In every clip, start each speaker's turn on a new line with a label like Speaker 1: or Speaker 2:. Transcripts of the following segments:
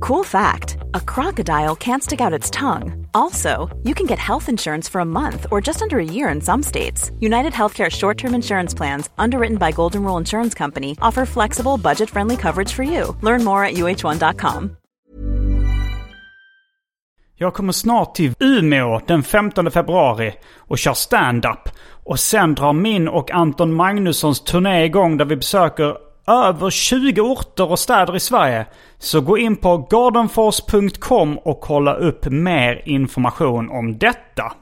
Speaker 1: Cool fact a crocodile can't stick out its tongue. Also, you can get health insurance for a month or just under a year in some states. United Healthcare short term insurance plans, underwritten by Golden Rule Insurance Company, offer flexible, budget friendly coverage for you. Learn more at uh1.com.
Speaker 2: Jag kommer snart till Umeå den 15 februari och kör stand-up. Och sen drar min och Anton Magnussons turné igång där vi besöker över 20 orter och städer i Sverige. Så gå in på gardenfors.com och kolla upp mer information om detta.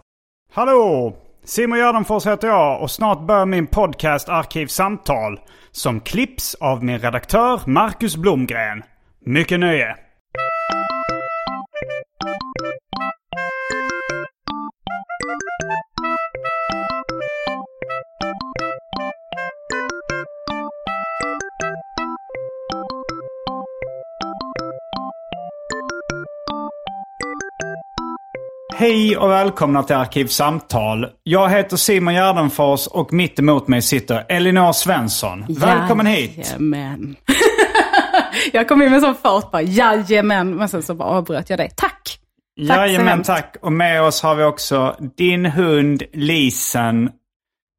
Speaker 2: Hallå! Simon Gärdenfors heter jag och snart börjar min podcast Arkivsamtal. Som klipps av min redaktör Marcus Blomgren. Mycket nöje! Hej och välkomna till Arkivsamtal. Jag heter Simon Gärdenfors och mitt emot mig sitter Elinor Svensson. Välkommen hit!
Speaker 3: Jajamän. jag kom in med sån fart bara, jajamän. Men sen så bara avbröt jag dig. Tack! så
Speaker 2: Jajamän,
Speaker 3: hemskt.
Speaker 2: tack. Och med oss har vi också din hund Lisen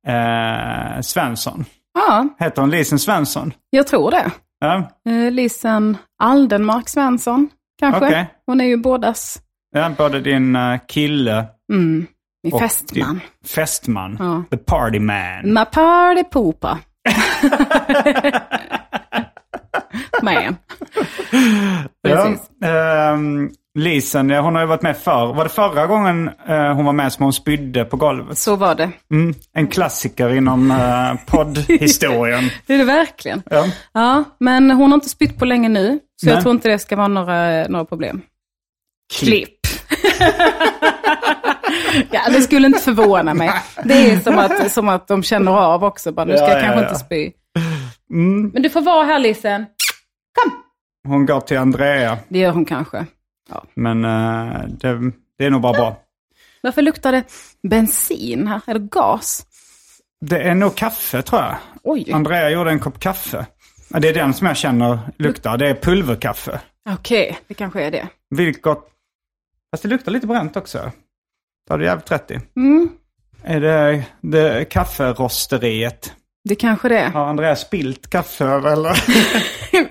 Speaker 2: eh, Svensson.
Speaker 3: Ja,
Speaker 2: Heter hon Lisen Svensson?
Speaker 3: jag tror det.
Speaker 2: Ja,
Speaker 3: Eh, Lisen Aldenmark Svensson, kanske.
Speaker 2: Okej.
Speaker 3: Hon är ju bådas
Speaker 2: ja både din eh, kille
Speaker 3: mm, min
Speaker 2: och typ.
Speaker 3: fästman.
Speaker 2: din fästman.
Speaker 3: Ja.
Speaker 2: The party man.
Speaker 3: My party pooper. Man. precis.
Speaker 2: Ja, ehm, Lisen, ja, hon har ju varit med förr. Var det förra gången eh, hon var med som hon spydde på golvet?
Speaker 3: Så var det.
Speaker 2: Mm, en klassiker inom eh, poddhistorien.
Speaker 3: Det är det verkligen.
Speaker 2: ja.
Speaker 3: Ja, men hon har inte spytt på länge nu. Så
Speaker 2: Nej.
Speaker 3: jag tror inte det ska vara några, några problem. Klipp. ja, det skulle inte förvåna mig. Det är som att, som att de känner av också. Bara, nu ska
Speaker 2: Ja,
Speaker 3: jag
Speaker 2: ja,
Speaker 3: kanske
Speaker 2: ja.
Speaker 3: inte spy. Men du får vara här, Lisen.
Speaker 2: Hon går till Andrea,
Speaker 3: Det gör hon kanske.
Speaker 2: men eh, det, det är nog bara bra.
Speaker 3: Varför luktar det bensin här? Eller gas?
Speaker 2: Det är nog kaffe tror jag.
Speaker 3: Oj.
Speaker 2: Andrea gjorde en kopp kaffe. Ja, Det är den som jag känner luktar. Det är pulverkaffe.
Speaker 3: Okej, det kanske är det.
Speaker 2: Vilket... Fast det luktar lite bränt också. Det har du jävligt rätt i.
Speaker 3: Mm,
Speaker 2: Är det, det kafferosteriet?
Speaker 3: det kanske det är.
Speaker 2: Har Andrea spilt kaffe över, eller?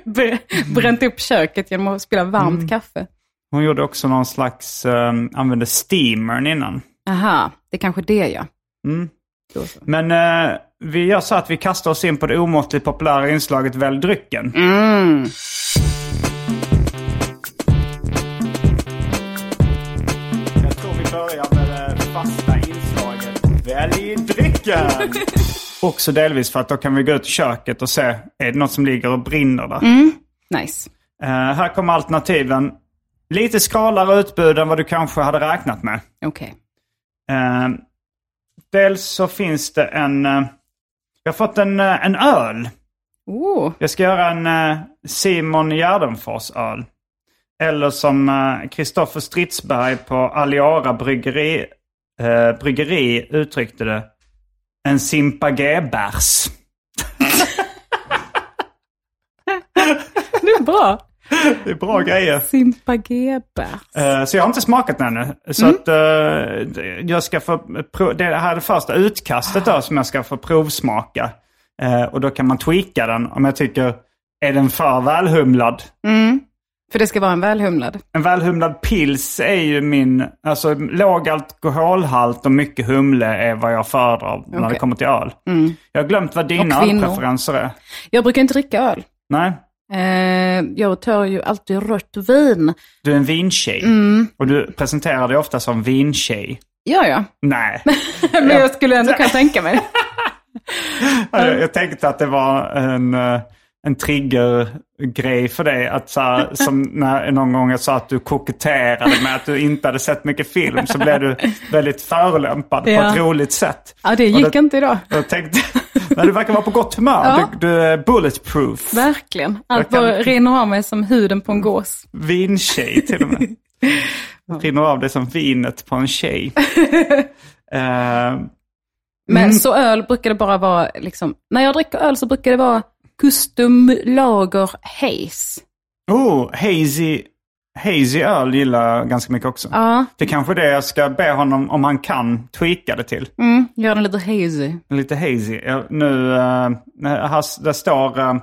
Speaker 3: Br- Bränt upp köket genom att spilla varmt kaffe.
Speaker 2: Hon gjorde också någon slags, eh, använde steamern innan.
Speaker 3: Aha, det kanske är det ja.
Speaker 2: Mm.
Speaker 3: Då så.
Speaker 2: Men eh, vi gör så att vi kastar oss in på det omåttligt populära inslaget Välj drycken.
Speaker 3: Mm.
Speaker 2: Jag tror vi börjar med det fasta inslaget Välj drycken! Också delvis för att då kan vi gå ut i köket och se, är det något som ligger och brinner där?
Speaker 3: Nice.
Speaker 2: Eh, här kommer alternativen. Lite skralare utbud än vad du kanske hade räknat med.
Speaker 3: Okej.
Speaker 2: Eh, dels så finns det en... eh, jag har fått en, eh, en öl.
Speaker 3: Oh,
Speaker 2: Jag ska göra en eh, Simon Gärdenfors-öl. Eller som Kristoffer Stridsberg på Aliara bryggeri, eh, bryggeri uttryckte det. En Simpa G-bärs.
Speaker 3: det är bra.
Speaker 2: Det är bra grejer.
Speaker 3: Simpa Gebers.
Speaker 2: Eh, Så jag har inte smakat den ännu. Så att, eh, jag ska få prov- det här är det första utkastet då, som jag ska få provsmaka. Eh, och då kan man tweaka den om jag tycker, är den för välhumlad?
Speaker 3: För det ska vara en välhumlad.
Speaker 2: En välhumlad pils är ju min, alltså låg alkoholhalt och mycket humle är vad jag föredrar när det
Speaker 3: Okej. Mm.
Speaker 2: kommer till öl. Jag har glömt vad dina
Speaker 3: Och kvinnor.
Speaker 2: ölpreferenser är.
Speaker 3: Jag brukar inte dricka öl.
Speaker 2: Nej,
Speaker 3: Eh, jag tar ju alltid rött vin.
Speaker 2: du är en vintjej.
Speaker 3: Mm.
Speaker 2: Och du presenterar dig ofta som vintjej.
Speaker 3: Ja, ja.
Speaker 2: Nej.
Speaker 3: Men jag skulle ändå kunna tänka mig det.
Speaker 2: Ja, Jag, jag tänkte att det var en, eh, en triggergrej för dig. Att så här, som när, någon gång jag sa att du koketterade med att du inte hade sett mycket film så blev du väldigt förolämpad på
Speaker 3: Ja.
Speaker 2: ett roligt sätt.
Speaker 3: Ja, det gick inte idag.
Speaker 2: Jag tänkte, men du verkar vara på gott humör.
Speaker 3: Ja.
Speaker 2: Du, du är bulletproof.
Speaker 3: Verkligen. Allt
Speaker 2: Jag kan- Mm.
Speaker 3: bara rinner av mig som huden på en gås.
Speaker 2: Vintjej till och med. Rinner av dig som vinet på en tjej. Eh,
Speaker 3: Men
Speaker 2: Mm.
Speaker 3: så öl brukar det bara vara, liksom, när jag dricker öl så brukar det vara custom lager haze.
Speaker 2: oh, hazy, hazy öl gillar jag ganska mycket också.
Speaker 3: Ja,
Speaker 2: Det är kanske är det jag ska be honom, om han kan, tweaka det till.
Speaker 3: mm, gör den lite hazy.
Speaker 2: Lite hazy. Jag, nu, eh, här, s- där står eh,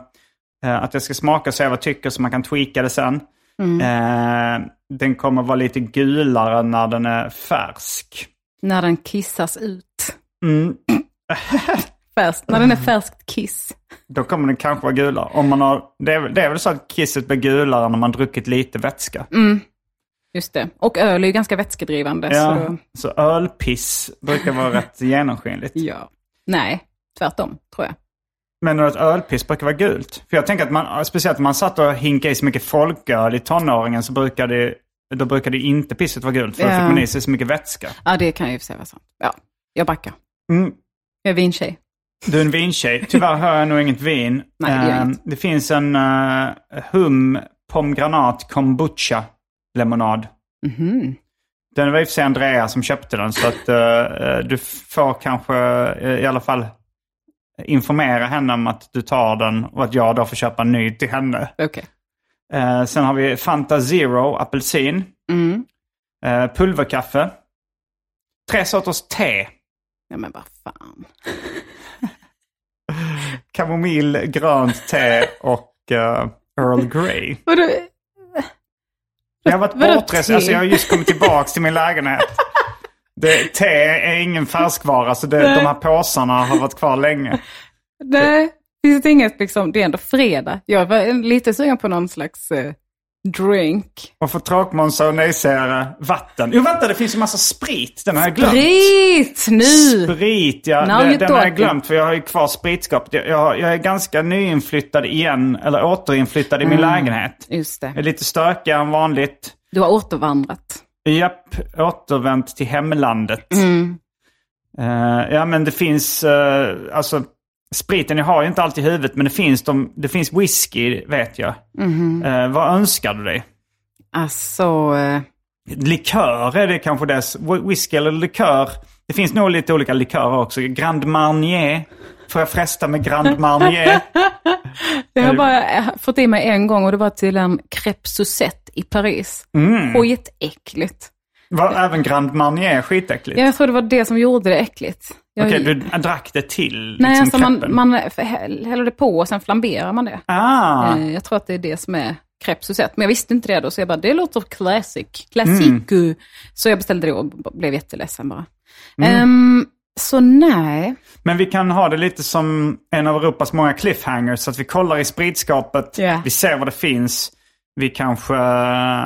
Speaker 2: eh, att jag ska smaka och se vad jag tycker så man kan tweaka det sen.
Speaker 3: Mm.
Speaker 2: Eh, den kommer vara lite gulare när den är färsk.
Speaker 3: När den kissas ut.
Speaker 2: Mm.
Speaker 3: Färskt, när den är färskt kiss.
Speaker 2: Då kommer den kanske vara gulare. Om man har, det, är, väl- det är väl så att kisset blir gulare när man druckit lite vätska.
Speaker 3: Mm. Just det. Och öl är ju ganska vätskedrivande. Så
Speaker 2: ja,
Speaker 3: då,
Speaker 2: så ölpiss brukar vara rätt genomskinligt.
Speaker 3: ja. Nej, tvärtom tror jag.
Speaker 2: Men att ölpiss brukar vara gult. För jag tänker att man, speciellt om man satt och hinkade i så mycket folköl i tonåringen så brukade, då brukade inte pisset vara gult. För då
Speaker 3: Ja.
Speaker 2: fick man i sig så mycket vätska.
Speaker 3: Ja, det kan ju i och för sig vara sant. Ja, jag backar.
Speaker 2: Mm.
Speaker 3: Jag är vintjej.
Speaker 2: Du är en vintjej. Tyvärr har jag nog inget vin.
Speaker 3: Nej, det gör
Speaker 2: Eh,
Speaker 3: inget.
Speaker 2: det finns en eh, hum pomgranat kombucha lemonad.
Speaker 3: Mhm.
Speaker 2: Den var i och för sig Andrea som köpte den så att eh, du får kanske eh, i alla fall informera henne om att du tar den och att jag då får köpa en ny till henne.
Speaker 3: Okej.
Speaker 2: Eh, sen har vi Fanta Zero apelsin,
Speaker 3: Mm.
Speaker 2: eh, pulverkaffe, tre sorters te,
Speaker 3: Ja, men vad fan.
Speaker 2: kamomill, grönt te och eh, Earl Grey.
Speaker 3: Vadå?
Speaker 2: Jag har varit
Speaker 3: Vadå
Speaker 2: bortrest,
Speaker 3: te?
Speaker 2: alltså jag har just kommit tillbaka till min lägenhet. Det, te är ingen färskvara så det,
Speaker 3: Nej.
Speaker 2: de här påsarna har varit kvar länge.
Speaker 3: Nej, finns det inget liksom, det är ändå fredag. Jag var lite sugen på någon slags eh, drink.
Speaker 2: Och för tråkmånsar och nejsägare, vatten. Jo vänta, det finns ju massa sprit. Den har jag glömt.
Speaker 3: Sprit nu!
Speaker 2: Sprit, ja.
Speaker 3: Now
Speaker 2: Den,
Speaker 3: you
Speaker 2: den har jag
Speaker 3: talking.
Speaker 2: glömt för jag har ju kvar spritskapet. Jag, jag, jag är ganska nyinflyttad igen, eller återinflyttad i min
Speaker 3: Mm.
Speaker 2: lägenhet.
Speaker 3: Just
Speaker 2: Jag är
Speaker 3: det,
Speaker 2: lite stökigare än vanligt.
Speaker 3: du har återvandrat.
Speaker 2: Japp, återvänt till hemlandet.
Speaker 3: Mm.
Speaker 2: Eh, ja men det finns, eh, alltså spriten jag har ju inte allt i huvudet men det finns, de, det finns whisky vet jag.
Speaker 3: Mm-hmm.
Speaker 2: Eh, vad önskar du dig?
Speaker 3: Alltså, eh,
Speaker 2: Likör är det kanske dess. Whisky eller likör. Det finns nog lite olika likörer också. Grand Marnier. Får jag fresta med Grand Marnier?
Speaker 3: jag har bara eh, fått i mig en gång och det var till en crêpe Suzette i Paris. Skitäckligt.
Speaker 2: Var även Grand Marnier skitäckligt?
Speaker 3: Ja, Jag tror det var det som gjorde det äckligt. Jag,
Speaker 2: Okej, du drack det till liksom,
Speaker 3: nej, alltså
Speaker 2: kreppen.
Speaker 3: man, man häll- häller det på och sen flamberar man det.
Speaker 2: Ah,
Speaker 3: Eh, Jag tror att det är det som är crêpe Suzette. Men jag visste inte det då, så jag bara, det låter classic.
Speaker 2: Mm.
Speaker 3: Classic. Så jag beställde det och b- blev jätteledsen bara.
Speaker 2: Mm.
Speaker 3: Ehm, så nej.
Speaker 2: Men vi kan ha det lite som en av Europas många cliffhangers. Så att vi kollar i spritskapet,
Speaker 3: Ja.
Speaker 2: vi ser vad det finns. Vi kanske,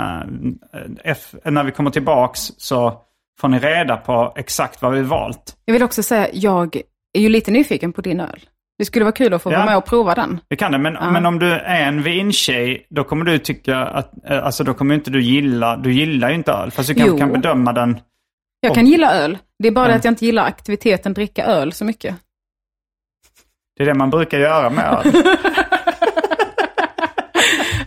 Speaker 2: eh, eff- när vi kommer tillbaks så får ni reda på exakt vad vi valt.
Speaker 3: Jag vill också säga, jag är ju lite nyfiken på din öl. Det skulle vara kul att få
Speaker 2: Ja.
Speaker 3: vara med och prova den.
Speaker 2: Det kan det, men, men om du är en vintjej, då kommer du tycka att, eh, alltså då kommer inte du gilla, du gillar ju inte öl. Fast du kanske
Speaker 3: Jo.
Speaker 2: kan bedöma den.
Speaker 3: Jag kan gilla öl, det är bara det att jag inte gillar aktiviteten dricka öl så mycket.
Speaker 2: Det är det man brukar göra med öl.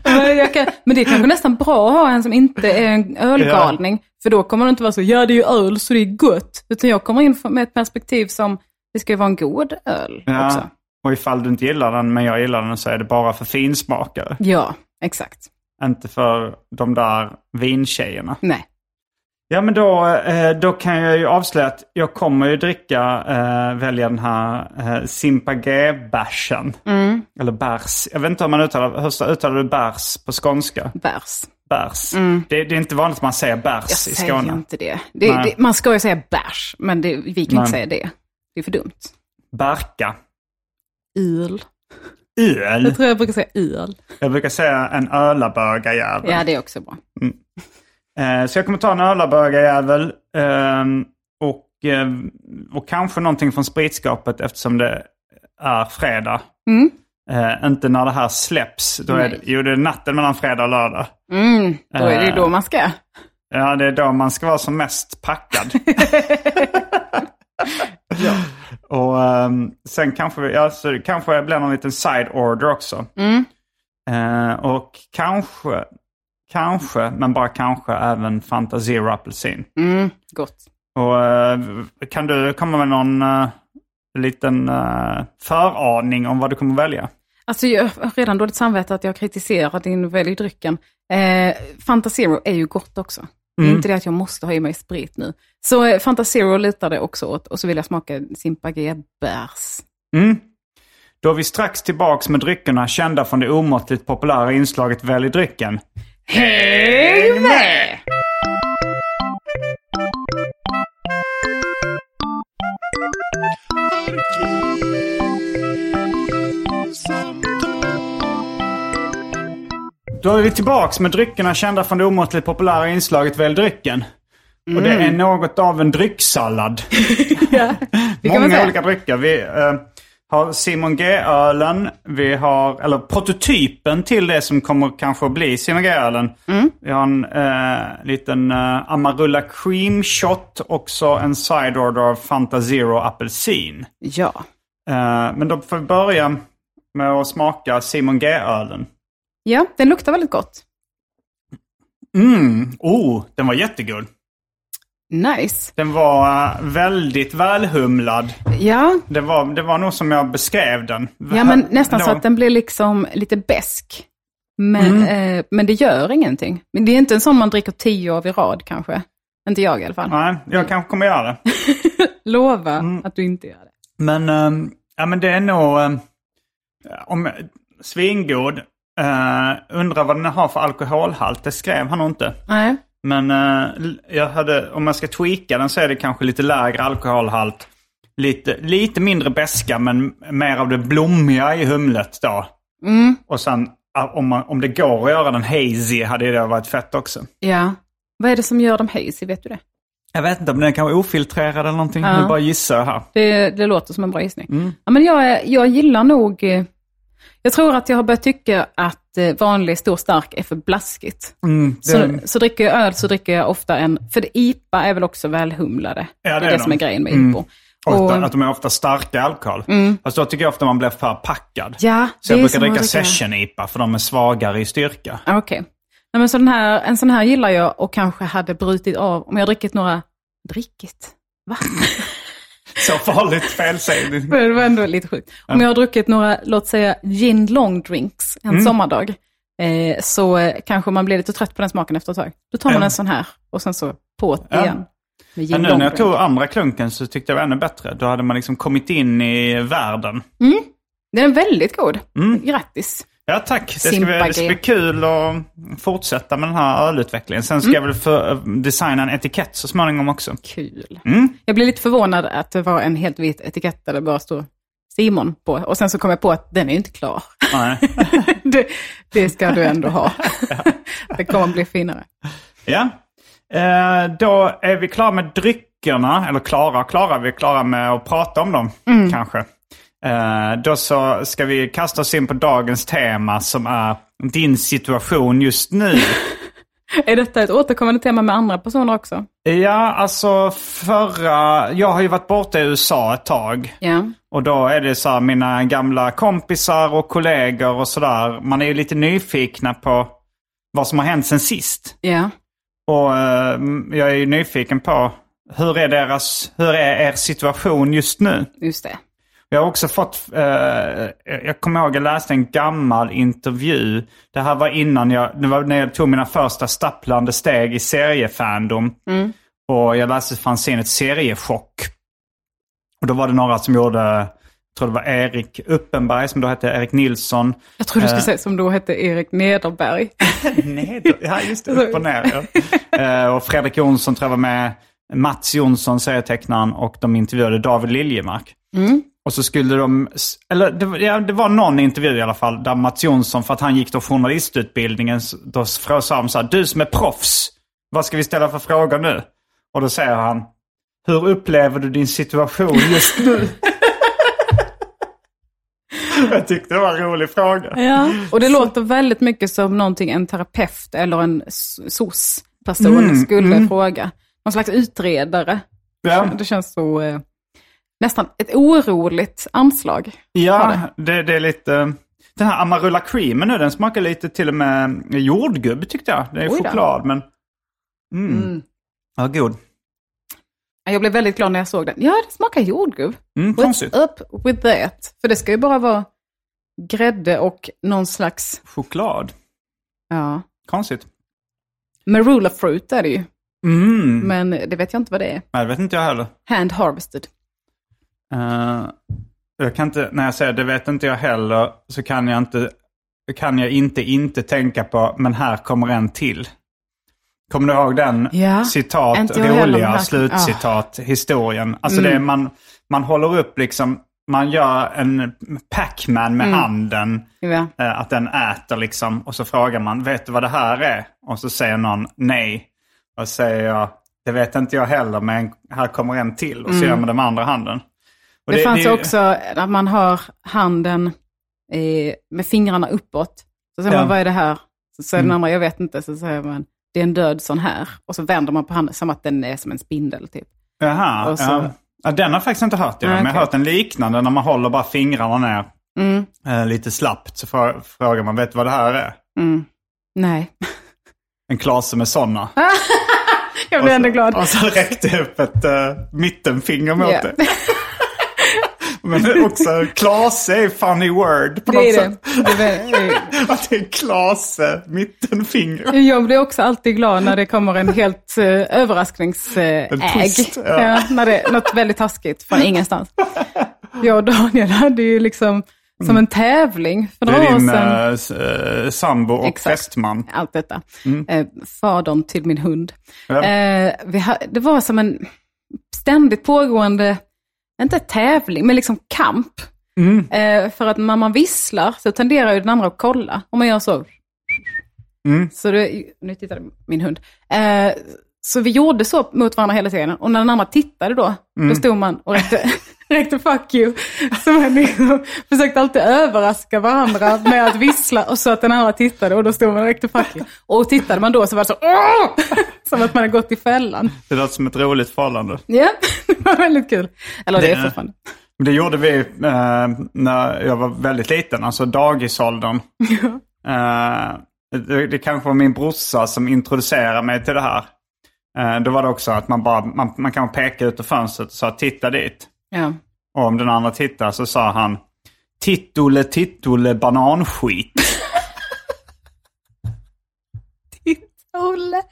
Speaker 3: Men, jag kan, men det är kanske nästan bra att ha en som inte är en ölgalning. För då kommer det inte vara så, ja det är ju öl så det är gött. Utan jag kommer in med ett perspektiv som, det ska ju vara en god öl också.
Speaker 2: Ja. Och ifall du inte gillar den, men jag gillar den, så är det bara för finsmakare.
Speaker 3: Ja, exakt.
Speaker 2: Inte för de där vintjejerna.
Speaker 3: Nej.
Speaker 2: Ja, men då, eh, då kan jag ju avslöja att jag kommer ju dricka, eh, välja den här eh, Simpagé-bärsen.
Speaker 3: Mm.
Speaker 2: Eller bärs. Jag vet inte hur man uttalar, hur uttalar du bärs på skånska?
Speaker 3: Bärs.
Speaker 2: Bärs. Det, det är inte vanligt att man säger
Speaker 3: Mm. Jag
Speaker 2: bärs i
Speaker 3: säger
Speaker 2: Skåne.
Speaker 3: inte det. det,
Speaker 2: Nej.
Speaker 3: det man ska ju säga bärs, men det, vi kan
Speaker 2: Nej.
Speaker 3: inte säga det. Det är för dumt.
Speaker 2: Barka. Mm.
Speaker 3: Öl.
Speaker 2: Öl.
Speaker 3: Jag tror jag brukar säga öl.
Speaker 2: Jag brukar säga en ölabögarjävel.
Speaker 3: Ja, det är också bra.
Speaker 2: Eh, så jag kommer ta en ölabögarjävel. ehm, och, eh,
Speaker 3: Mm.
Speaker 2: och kanske någonting från spritskapet eftersom det är fredag. Eh, inte när det här släpps. Då är det, jo, det är natten mellan fredag och lördag.
Speaker 3: Mm, då är det
Speaker 2: Eh.
Speaker 3: ju då man ska.
Speaker 2: Ja, det är då man ska vara som mest packad. Och ehm, sen kanske, vi- ja, så det kanske det blir någon liten side order också. Eh, och kanske, kanske, men bara kanske även Fanta Zero Apelsin.
Speaker 3: Mm, gott.
Speaker 2: Och eh, kan du komma med någon eh, liten eh, föraning om vad du kommer välja?
Speaker 3: Alltså jag har redan dåligt samvete att jag kritiserar din välj drycken. Eh, Fanta Zero är ju gott också. Det är inte det att jag måste ha i mig sprit nu. Så eh, Fanta Zero litar det också åt. Och så vill jag smaka Simpagé bärs.
Speaker 2: Mm. Då är vi strax tillbaks med dryckerna kända från det omåttligt populära inslaget Välj drycken.
Speaker 3: Häng med!
Speaker 2: Då är vi tillbaks med dryckerna kända från det omåttligt populära inslaget Välj drycken. Och det
Speaker 3: Mm.
Speaker 2: är något av en drycksallad.
Speaker 3: Det kan man
Speaker 2: Många
Speaker 3: säga.
Speaker 2: olika drycker. Vi eh, har Simon G-ölen. Vi har, eller prototypen till det som kommer kanske att bli Simon G-ölen.
Speaker 3: Mm.
Speaker 2: Vi har en eh, liten eh, Amarula Cream Shot. Också en side order av Fanta Zero Apelsin.
Speaker 3: Ja.
Speaker 2: Eh, men då får vi börja med att smaka Simon G-ölen.
Speaker 3: ja, den luktar väldigt gott.
Speaker 2: Mm, oh, den var jättegod.
Speaker 3: Nice.
Speaker 2: Den var eh, väldigt välhumlad.
Speaker 3: Ja,
Speaker 2: Det var, det var nog som jag beskrev den.
Speaker 3: ja men nästan
Speaker 2: Det
Speaker 3: så
Speaker 2: var-
Speaker 3: att den blir liksom lite besk. Men, eh, men det gör ingenting. Men det är inte en sån man dricker tio av i rad kanske. Inte jag i alla fall.
Speaker 2: Nej, jag kanske kommer göra det.
Speaker 3: Lova att du inte gör det.
Speaker 2: Men, ehm, ja, men det är nog... ehm, om, svingod. Eh, undrar vad den har för alkoholhalt. Det skrev han nog inte.
Speaker 3: Nej.
Speaker 2: Men eh, l- jag hade, om man ska tweaka den så är det kanske lite lägre alkoholhalt. Lite, lite mindre beska men mer av det blommiga i humlet då.
Speaker 3: Mm.
Speaker 2: Och sen ah, om, man, om det går att göra den hazy hade det varit fett också.
Speaker 3: Ja. Vad är det som gör dem hazy, vet du det?
Speaker 2: Jag vet inte om den kan vara ofiltrerad eller någonting. Nu bara gissar jag här.
Speaker 3: Det, det låter som en bra gissning.
Speaker 2: Mm.
Speaker 3: Ja, men jag, är- jag gillar nog... eh, Jag tror att jag har börjat tycka att eh, vanlig stor stark är för blaskigt.
Speaker 2: Mm, det,
Speaker 3: Så, så dricker jag öl så dricker jag ofta en... För det- IPA är väl också välhumlade?
Speaker 2: Ja, det är
Speaker 3: det är det
Speaker 2: de. Mm.
Speaker 3: som är grejen med IPO.
Speaker 2: och,
Speaker 3: Och, Mm.
Speaker 2: att de är ofta starka i alkohol. Fast då tycker jag ofta man blir för packad.
Speaker 3: ja,
Speaker 2: så jag
Speaker 3: det är
Speaker 2: brukar
Speaker 3: som att
Speaker 2: dricka session-IPA för de är svagare i styrka.
Speaker 3: Ja, Okej. Nej, men så den här, en sån här gillar jag och kanske hade brutit av om jag drickit några... Drickit? Va?
Speaker 2: Så farligt felsägning.
Speaker 3: Men det var ändå lite sjukt. Om jag har druckit några, låt säga, gin long drinks en
Speaker 2: Mm.
Speaker 3: sommardag, eh, så eh, kanske man blir lite trött på den smaken efter ett tag. Då tar man
Speaker 2: Ja.
Speaker 3: en sån här och sen så på
Speaker 2: Ja.
Speaker 3: igen. Med
Speaker 2: Men
Speaker 3: gin
Speaker 2: nu
Speaker 3: long
Speaker 2: när jag
Speaker 3: drink.
Speaker 2: tog andra klunken så tyckte jag det var ännu bättre. Då hade man liksom kommit in i världen.
Speaker 3: Den är väldigt god.
Speaker 2: Mm.
Speaker 3: Grattis.
Speaker 2: Ja tack, det ska, bli,
Speaker 3: Simpagé.
Speaker 2: det ska bli kul att fortsätta med den här ölutvecklingen. Sen ska
Speaker 3: Mm.
Speaker 2: jag väl för, designa en etikett så småningom också.
Speaker 3: Kul.
Speaker 2: Mm.
Speaker 3: Jag blev lite förvånad att det var en helt vit etikett där det bara stod Simon på. Och sen så kom jag på att den är ju inte klar.
Speaker 2: Nej.
Speaker 3: det, det ska du ändå ha. det kommer bli finare.
Speaker 2: Ja. Eh, då är vi klara med dryckerna. Eller klara och klara, vi är klara med att prata om dem kanske. Eh, då så ska vi kasta oss in på dagens tema som är din situation just nu.
Speaker 3: Är detta ett återkommande tema med andra personer också?
Speaker 2: ja, alltså förra... Jag har ju varit borta i USA ett tag.
Speaker 3: Ja.
Speaker 2: Och då är det så här, mina gamla kompisar och kollegor och sådär. Man är ju lite nyfikna på vad som har hänt sen sist.
Speaker 3: Ja.
Speaker 2: Och eh, jag är ju nyfiken på hur är, deras, hur är er situation just nu?
Speaker 3: Just det.
Speaker 2: Jag har också fått, eh, jag kommer ihåg jag läste en gammal intervju. Det här var innan jag, det var när jag tog mina första stapplande steg i seriefandom. Och jag läste fanzinet Seriechock. Och då var det några som gjorde, jag tror det var Erik Uppenberg som då hette Erik Nilsson.
Speaker 3: Jag tror du
Speaker 2: Eh.
Speaker 3: skulle säga som då hette Erik Nederberg.
Speaker 2: Ned, ja, just det. Upp och ner. Ja. Eh, och Fredrik Jonsson tror jag var med. Mats Jonsson, serietecknaren, och de intervjuade David Liljemark. Och så skulle de, eller det, var- ja, det var någon intervju i alla fall, där Mats Jonsson, för att han gick då journalistutbildningen, s- då frågade han så här, du som är proffs, vad ska vi ställa för frågor nu? Och då säger han, hur upplever du din situation just nu? Jag tyckte det var en rolig fråga.
Speaker 3: Ja. Och det låter väldigt mycket som någonting en terapeut eller en s- SOS-person
Speaker 2: Mm,
Speaker 3: skulle fråga. Någon slags utredare.
Speaker 2: Ja.
Speaker 3: Det känns så eh, nästan ett oroligt anslag.
Speaker 2: Ja, det, det är lite... eh, Den här Amarula creamen nu, den smakar lite till och med jordgubb tyckte jag. Det är
Speaker 3: Oj då.
Speaker 2: choklad men... Mm. Ja, god.
Speaker 3: Jag blev väldigt glad när jag såg den. Ja, det smakar jordgubb.
Speaker 2: Mm, konstigt.
Speaker 3: What's up with that? För det ska ju bara vara grädde och någon slags,
Speaker 2: Choklad.
Speaker 3: ja,
Speaker 2: Konstigt.
Speaker 3: marula fruit är det ju.
Speaker 2: Mm.
Speaker 3: Men det vet jag inte vad det är.
Speaker 2: Nej, det vet inte jag heller.
Speaker 3: Hand harvested.
Speaker 2: Eh, jag kan inte, när jag säger det vet inte jag heller, så kan jag inte, kan jag inte inte tänka på, men här kommer en till. Kommer du ihåg den?
Speaker 3: Ja.
Speaker 2: Citat,
Speaker 3: Inte jag heller, men
Speaker 2: roliga
Speaker 3: här- Mm.
Speaker 2: slutcitat, historien. Alltså det är man, man håller upp liksom, man gör en Pac-Man
Speaker 3: Mm.
Speaker 2: med handen.
Speaker 3: Ja.
Speaker 2: Eh, Att den äter liksom. Och så frågar man, vet du vad det här är? Och så säger någon nej. Och så säger jag, det vet inte jag heller, men här kommer en till. Och så gör man det med andra handen. Och
Speaker 3: Mm. Det, fanns ju också att man har handen eh, med fingrarna uppåt. Så säger
Speaker 2: Ja. Mm.
Speaker 3: man, vad är det här? Så säger den andra, jag vet inte. Så säger man, det är en död sån här. Och så vänder man på handen som att den är som en spindel typ.
Speaker 2: Jaha,
Speaker 3: och så-
Speaker 2: ja. ja. Den har jag faktiskt inte hört. Jag,
Speaker 3: Nej,
Speaker 2: men jag har
Speaker 3: okej.
Speaker 2: hört en liknande när man håller bara fingrarna ner.
Speaker 3: Mm.
Speaker 2: Eh, lite slappt så frå- frågar man, vet du vad det här är?
Speaker 3: Mm. Nej.
Speaker 2: En klase med sådana.
Speaker 3: Jag blir ändå glad.
Speaker 2: Och så räckte jag upp ett eh, mittenfinger mot
Speaker 3: Ja.
Speaker 2: det. Men också, klase är funny word på
Speaker 3: Det
Speaker 2: något
Speaker 3: är det.
Speaker 2: sätt.
Speaker 3: det, är, det
Speaker 2: Att det är Klase, mittenfinger.
Speaker 3: är. Jag blir också alltid glad när det kommer en helt eh, överraskningsägg.
Speaker 2: En twist, ja.
Speaker 3: ja, när det är något väldigt taskigt från ingenstans. Jag och Daniel hade ju liksom som en tävling för
Speaker 2: Mm. Det
Speaker 3: några
Speaker 2: är
Speaker 3: år
Speaker 2: din
Speaker 3: sedan.
Speaker 2: eh, s- eh, sambo och
Speaker 3: Exakt.
Speaker 2: fästman.
Speaker 3: allt detta. Eh, fadern till min hund.
Speaker 2: Ja.
Speaker 3: Eh, vi ha, det var som en ständigt pågående, inte tävling, men liksom kamp. Eh, för att när man visslar så tenderar ju den andra att kolla. Om man gör så. så det, nu tittade min hund. Eh, så vi gjorde så mot varandra hela tiden. Och när den andra tittade då, då stod man och räckte, räckte fuck you. Så man liksom försökte alltid överraska varandra med att vissla och så att den andra tittade och då stod man och räckte fuck you. Och tittade man då så var det så Åh! Som att man hade gått i fällan.
Speaker 2: Det låter som ett roligt förhållande.
Speaker 3: Ja, det var väldigt kul. Eller det är fortfarande.
Speaker 2: Det gjorde vi eh, när jag var väldigt liten, alltså dagisåldern. Eh, det, det kanske var min brorsa som introducerade mig till det här. Eh, då var det också att man bara, man, man kan peka ut ur fönstret och sa titta dit.
Speaker 3: Ja.
Speaker 2: Och om den andra tittar så sa han Tittole, tittole, bananskit.
Speaker 3: Olle.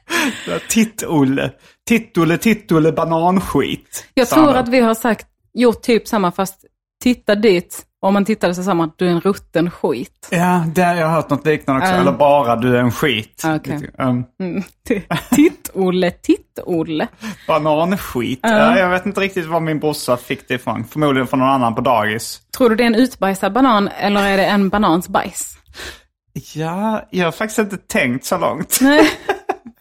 Speaker 2: Ja, Titt-Olle. Titt-Olle, titt-Olle, bananskit.
Speaker 3: Jag
Speaker 2: sa
Speaker 3: tror
Speaker 2: han.
Speaker 3: att vi har sagt, gjort typ samma fast titta dit. Om man tittade sig samman, du är en rutten skit.
Speaker 2: Ja, där, jag har hört något liknande också.
Speaker 3: Ähm.
Speaker 2: Eller bara du är en skit.
Speaker 3: Okej.
Speaker 2: Ähm,
Speaker 3: Mm. Titt-Olle, titt-Olle.
Speaker 2: bananskit. Ja, jag vet inte riktigt var min brorsa fick det ifrån. Förmodligen från någon annan på dagis.
Speaker 3: Tror du det är en utbajsad banan eller är det en banans bajs?
Speaker 2: Ja, jag har faktiskt inte tänkt så långt.
Speaker 3: Nej,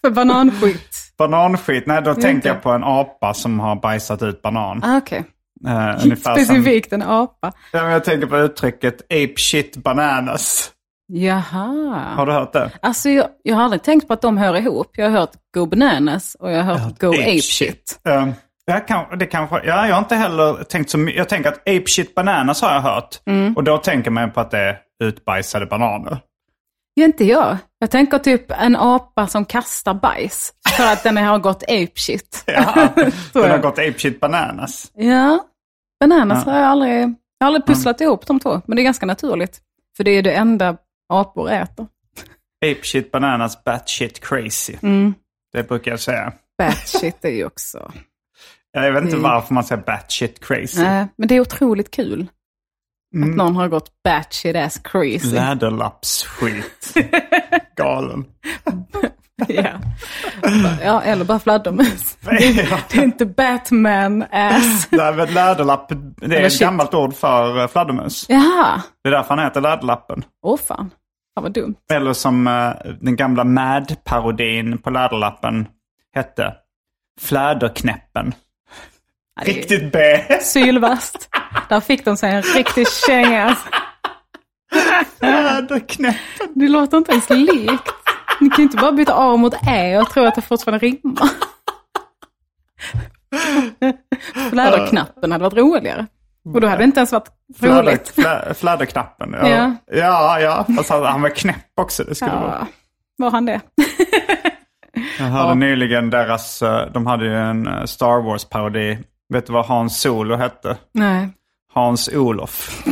Speaker 3: för bananskit.
Speaker 2: Bananskit, nej då tänker
Speaker 3: inte.
Speaker 2: jag på en apa som har bajsat ut banan.
Speaker 3: Ah, Okej,
Speaker 2: Eh, ungefär som,
Speaker 3: specifikt en apa.
Speaker 2: ja, men jag tänker på uttrycket ape shit bananas.
Speaker 3: Jaha.
Speaker 2: Har du hört det?
Speaker 3: Alltså jag, jag har aldrig tänkt på att de hör ihop. Jag har hört Go Bananas och jag har hört Go
Speaker 2: ape
Speaker 3: Ape
Speaker 2: shit.
Speaker 3: Shit.
Speaker 2: Ehm, Jag, kan, det kanske, ja, jag har inte heller tänkt så mycket. Jag tänker att Ape Shit Bananas har jag hört.
Speaker 3: Mm.
Speaker 2: Och då tänker man på att det är utbajsade bananer.
Speaker 3: Ja, inte jag. Jag tänker typ en apa som kastar bajs för att den har gått ape shit.
Speaker 2: Ja,
Speaker 3: Tror
Speaker 2: den har
Speaker 3: jag.
Speaker 2: gått Ape Shit Bananas.
Speaker 3: Ja, bananas har jag aldrig, jag har aldrig pusslat ihop de två, men det är ganska naturligt. För det är det enda apor äter.
Speaker 2: Ape Shit Bananas Bat Shit Crazy.
Speaker 3: Mm.
Speaker 2: Det brukar jag säga.
Speaker 3: Bat shit är ju också...
Speaker 2: Jag vet inte
Speaker 3: Mm.
Speaker 2: varför man säger Bat Shit Crazy.
Speaker 3: Nej, men det är otroligt kul att någon har gått batshit ass crazy.
Speaker 2: Läderlappsskit. Galen.
Speaker 3: Ja. ja, eller bara fladdermus.
Speaker 2: Ja.
Speaker 3: Det är inte Batman ass.
Speaker 2: Nej, men Läderlapp, det är
Speaker 3: Eller
Speaker 2: ett
Speaker 3: shit.
Speaker 2: gammalt ord för eh, fladdermus.
Speaker 3: Jaha,
Speaker 2: Det är därför han heter Läderlappen.
Speaker 3: åh fan. Fan vad dumt.
Speaker 2: Eller som eh, den gamla Mad-parodin på Läderlappen hette. Fläderknäppen.
Speaker 3: Ja, det är
Speaker 2: Riktigt B.
Speaker 3: Sylvast. Där fick de sig en riktig känga.
Speaker 4: Fjäderknäppen.
Speaker 3: Det låter inte ens likt. Ni kan ju inte bara byta A mot Ä och tro att det fortfarande rimmar. Fläderknappen hade varit roligare. Och då hade det inte ens varit
Speaker 2: Fläder,
Speaker 3: roligt.
Speaker 2: flä, fläderknappen. Ja,
Speaker 3: Ja.
Speaker 2: ja. ja, Fast han, han var knäpp också. Det skulle vara.
Speaker 3: Ja, var han det?
Speaker 2: Jag hörde nyligen deras, eh, de hade ju en eh, Star Wars-parodi. Vet du vad Hans Solo hette?
Speaker 3: Nej,
Speaker 2: Hans Olof.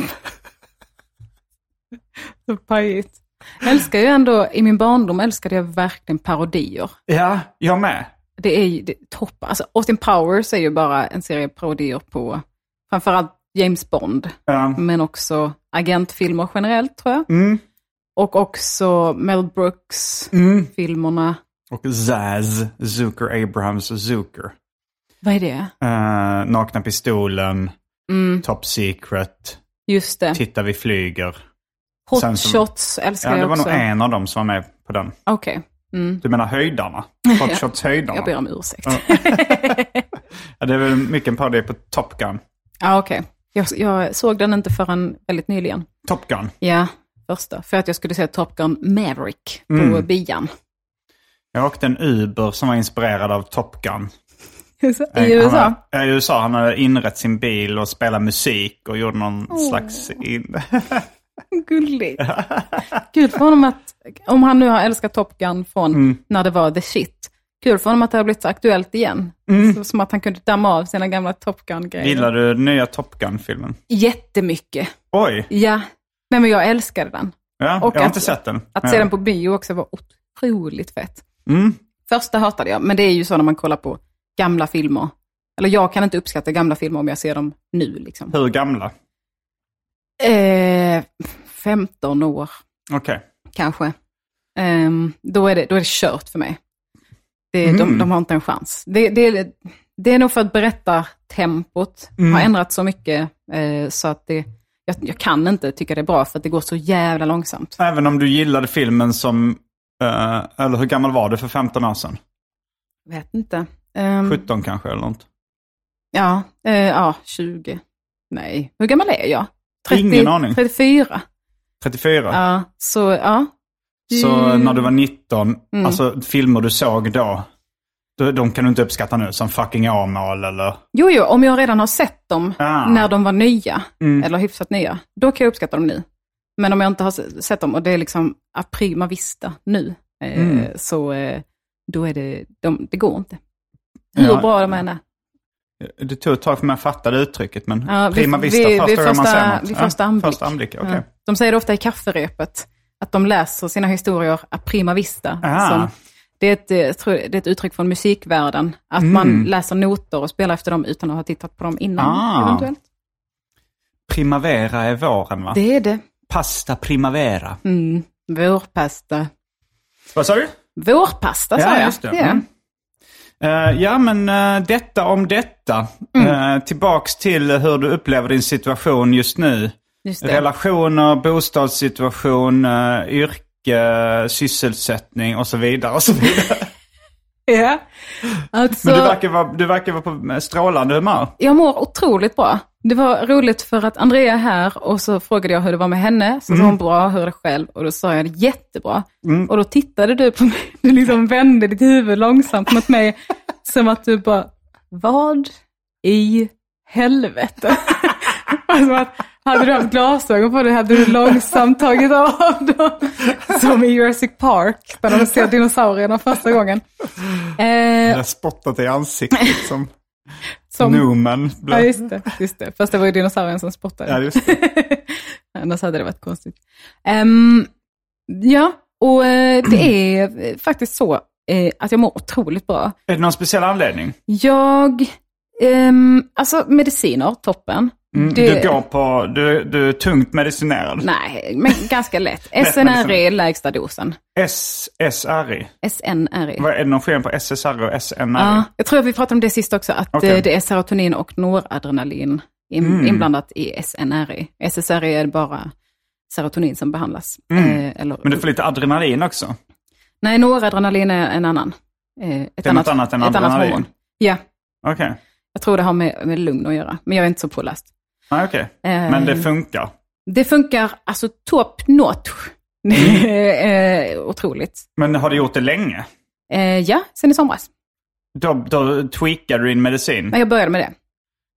Speaker 3: det var pajigt. Jag älskar ju ändå, i min barndom älskade jag verkligen parodier.
Speaker 2: Ja, jag med.
Speaker 3: Det är ju det, är topp. Alltså, Austin Powers är ju bara en serie parodier på framförallt James Bond,
Speaker 2: Ja.
Speaker 3: men också agentfilmer generellt tror jag.
Speaker 2: Mm.
Speaker 3: Och också Mel Brooks-filmerna.
Speaker 2: Mm. Och Zaz, Zucker Abrahams Zucker.
Speaker 3: Vad är det?
Speaker 2: Eh, nakna pistolen,
Speaker 3: Mm,
Speaker 2: Top Secret,
Speaker 3: just det.
Speaker 2: Titta vi flyger.
Speaker 3: Hot
Speaker 2: sen som-
Speaker 3: Shots älskar
Speaker 2: Ja, det
Speaker 3: jag
Speaker 2: var
Speaker 3: också.
Speaker 2: nog en av dem som var med på den.
Speaker 3: Okej, mm,
Speaker 2: Du menar höjdarna? Hot Shots höjdarna?
Speaker 3: jag ber om ursäkt.
Speaker 2: Ja, det är väl mycket en parodi på Top Gun.
Speaker 3: Ja, okej. Jag, jag såg den inte förrän väldigt nyligen.
Speaker 2: Top Gun.
Speaker 3: Ja, första. För att jag skulle se Top Gun Maverick på bian.
Speaker 2: Jag åkte en Uber som var inspirerad av Top Gun. Eh,
Speaker 3: I USA.
Speaker 2: Han, hade- ja, I USA. Han hade inrett sin bil och spelat musik och gjorde någon slags... In...
Speaker 3: Gulligt. Kul för honom att, om han nu har älskat Top Gun från när det var the shit, kul för honom att det har blivit så aktuellt igen. Så, som att han kunde damma av sina gamla Top Gun-grejer.
Speaker 2: Gillar du den nya Top Gun-filmen?
Speaker 3: Jättemycket.
Speaker 2: Oj!
Speaker 3: Ja. Nej, men jag älskade den.
Speaker 2: Ja,
Speaker 3: Och
Speaker 2: jag har
Speaker 3: att-
Speaker 2: inte sett den.
Speaker 3: Att
Speaker 2: ja.
Speaker 3: se den på bio också var otroligt fett.
Speaker 2: Mm.
Speaker 3: Första hatade jag, men det är ju så när man kollar på gamla filmer. Eller jag kan inte uppskatta gamla filmer om jag ser dem nu. Liksom.
Speaker 2: Hur gamla?
Speaker 3: Eh, 15 år
Speaker 2: Okej.
Speaker 3: kanske. Ehm, då, är det, då är det kört för mig. Det,
Speaker 2: Mm.
Speaker 3: de, de har inte en chans. Det, det, det är nog för att berättartempot
Speaker 2: Mm.
Speaker 3: har ändrats så mycket eh, så att det, jag, jag kan inte tycka det är bra för att det går så jävla långsamt.
Speaker 2: Även om du gillade filmen som... eh, eller hur gammal var du för 15 år sedan?
Speaker 3: Jag vet inte. Ehm,
Speaker 2: 17 kanske eller något?
Speaker 3: Ja, eh, ja, 20. Nej, hur gammal är jag?
Speaker 2: Ingen aning.
Speaker 3: 34.
Speaker 2: 34?
Speaker 3: Ja, så ja.
Speaker 2: Så
Speaker 3: Mm.
Speaker 2: när du var 19, alltså filmer du såg då, då- de kan du inte uppskatta nu som fucking Åmål eller...
Speaker 3: Jo, jo, om jag redan har sett dem
Speaker 2: Ah.
Speaker 3: när de var nya,
Speaker 2: Mm. Eh,
Speaker 3: eller hyfsat nya, då kan jag uppskatta dem nu. Men om jag inte har se- sett dem och det är liksom a prima vista nu, eh,
Speaker 2: Mm.
Speaker 3: så eh, då är det, de, det går inte. Hur
Speaker 2: Ja.
Speaker 3: bra de än är.
Speaker 2: Det tog ett tag för mig att fatta det uttrycket, men
Speaker 3: Ja, vid-
Speaker 2: prima vista
Speaker 3: vid-
Speaker 2: första
Speaker 3: vid
Speaker 2: gången man
Speaker 3: första-
Speaker 2: ser något.
Speaker 3: vid första anblick.
Speaker 2: Första anblick, okej.
Speaker 3: Ja. De säger det ofta i kafferepet, att de läser sina historier a prima vista.
Speaker 2: Ah.
Speaker 3: Som, det, är ett, eh, jag tror, det är ett uttryck från musikvärlden, att
Speaker 2: Mm.
Speaker 3: man läser noter och spelar efter dem utan att ha tittat på dem innan.
Speaker 2: Ah.
Speaker 3: Eventuellt.
Speaker 2: Primavera är våren va?
Speaker 3: Det är det.
Speaker 2: Pasta primavera.
Speaker 3: Mm. Vårpasta.
Speaker 2: Vad sa du?
Speaker 3: Vårpasta sa
Speaker 2: Ja,
Speaker 3: jag.
Speaker 2: just det.
Speaker 3: Ja.
Speaker 2: Mm. Eh, ja, men eh, detta om detta.
Speaker 3: Mm.
Speaker 2: Eh, tillbaks till hur du upplever din situation just nu.
Speaker 3: Just det.
Speaker 2: Relationer, bostadssituation, eh, yrke, sysselsättning och så vidare. Och så vidare.
Speaker 3: Ja. Alltså,
Speaker 2: Men du verkar, vara, du verkar vara på strålande humör.
Speaker 3: jag mår otroligt bra. Det var roligt för att Andrea är här och så frågade jag hur det var med henne. Så sa
Speaker 2: Mm.
Speaker 3: hon bra, hur är det själv? Och då sa jag jättebra. Och då tittade du på mig, du liksom vände ditt huvud långsamt mot mig. som att du bara, vad i helvete? Alltså att, hade du haft glasögon på dig hade du långsamt tagit av dem. Som i Jurassic Park, där de ser dinosaurierna första gången. Eh,
Speaker 2: Jag har spottat i ansiktet liksom. som
Speaker 3: som,
Speaker 2: Numen.
Speaker 3: Ja,
Speaker 2: blev.
Speaker 3: just det, just det. Fast det var ju dinosaurien som spottade.
Speaker 2: Ja, just det.
Speaker 3: Annars hade det varit konstigt. Ehm, ja, och eh, det är eh, faktiskt så eh, att jag mår otroligt bra.
Speaker 2: Är det någon speciell anledning?
Speaker 3: Jag, ehm, alltså mediciner, toppen. Det-
Speaker 2: Mm. Du går på, du, du är tungt medicinerad.
Speaker 3: Nej, men ganska lätt.
Speaker 2: mediciner.
Speaker 3: SNRE, E, lägsta dosen.
Speaker 2: SSRI.
Speaker 3: SNRE.
Speaker 2: Vad är det någon skillnad på SSRI och SNRI?
Speaker 3: Ja, jag tror att vi pratade om det sist också, att
Speaker 2: Okej. Mm.
Speaker 3: eh, det är serotonin och noradrenalin in, inblandat i SNRE. SSRE är bara serotonin som behandlas. Eh, eller,
Speaker 2: Mm. Men du får lite adrenalin också.
Speaker 3: Nej, noradrenalin är en annan. Eh, ett
Speaker 2: är något annat än
Speaker 3: ett annat
Speaker 2: adrenalin.
Speaker 3: hormon. Ja,
Speaker 2: Okej.
Speaker 3: jag tror det har med, med lugn att göra, men jag är inte så påläst. Eh,
Speaker 2: Nej, okej. Men det funkar.
Speaker 3: Det funkar alltså top notch.
Speaker 2: Mm.
Speaker 3: Eh, Otroligt.
Speaker 2: Men har du gjort det länge?
Speaker 3: Eh, ja, sen i somras.
Speaker 2: Då, då tweakade du din medicin?
Speaker 3: När jag började med det.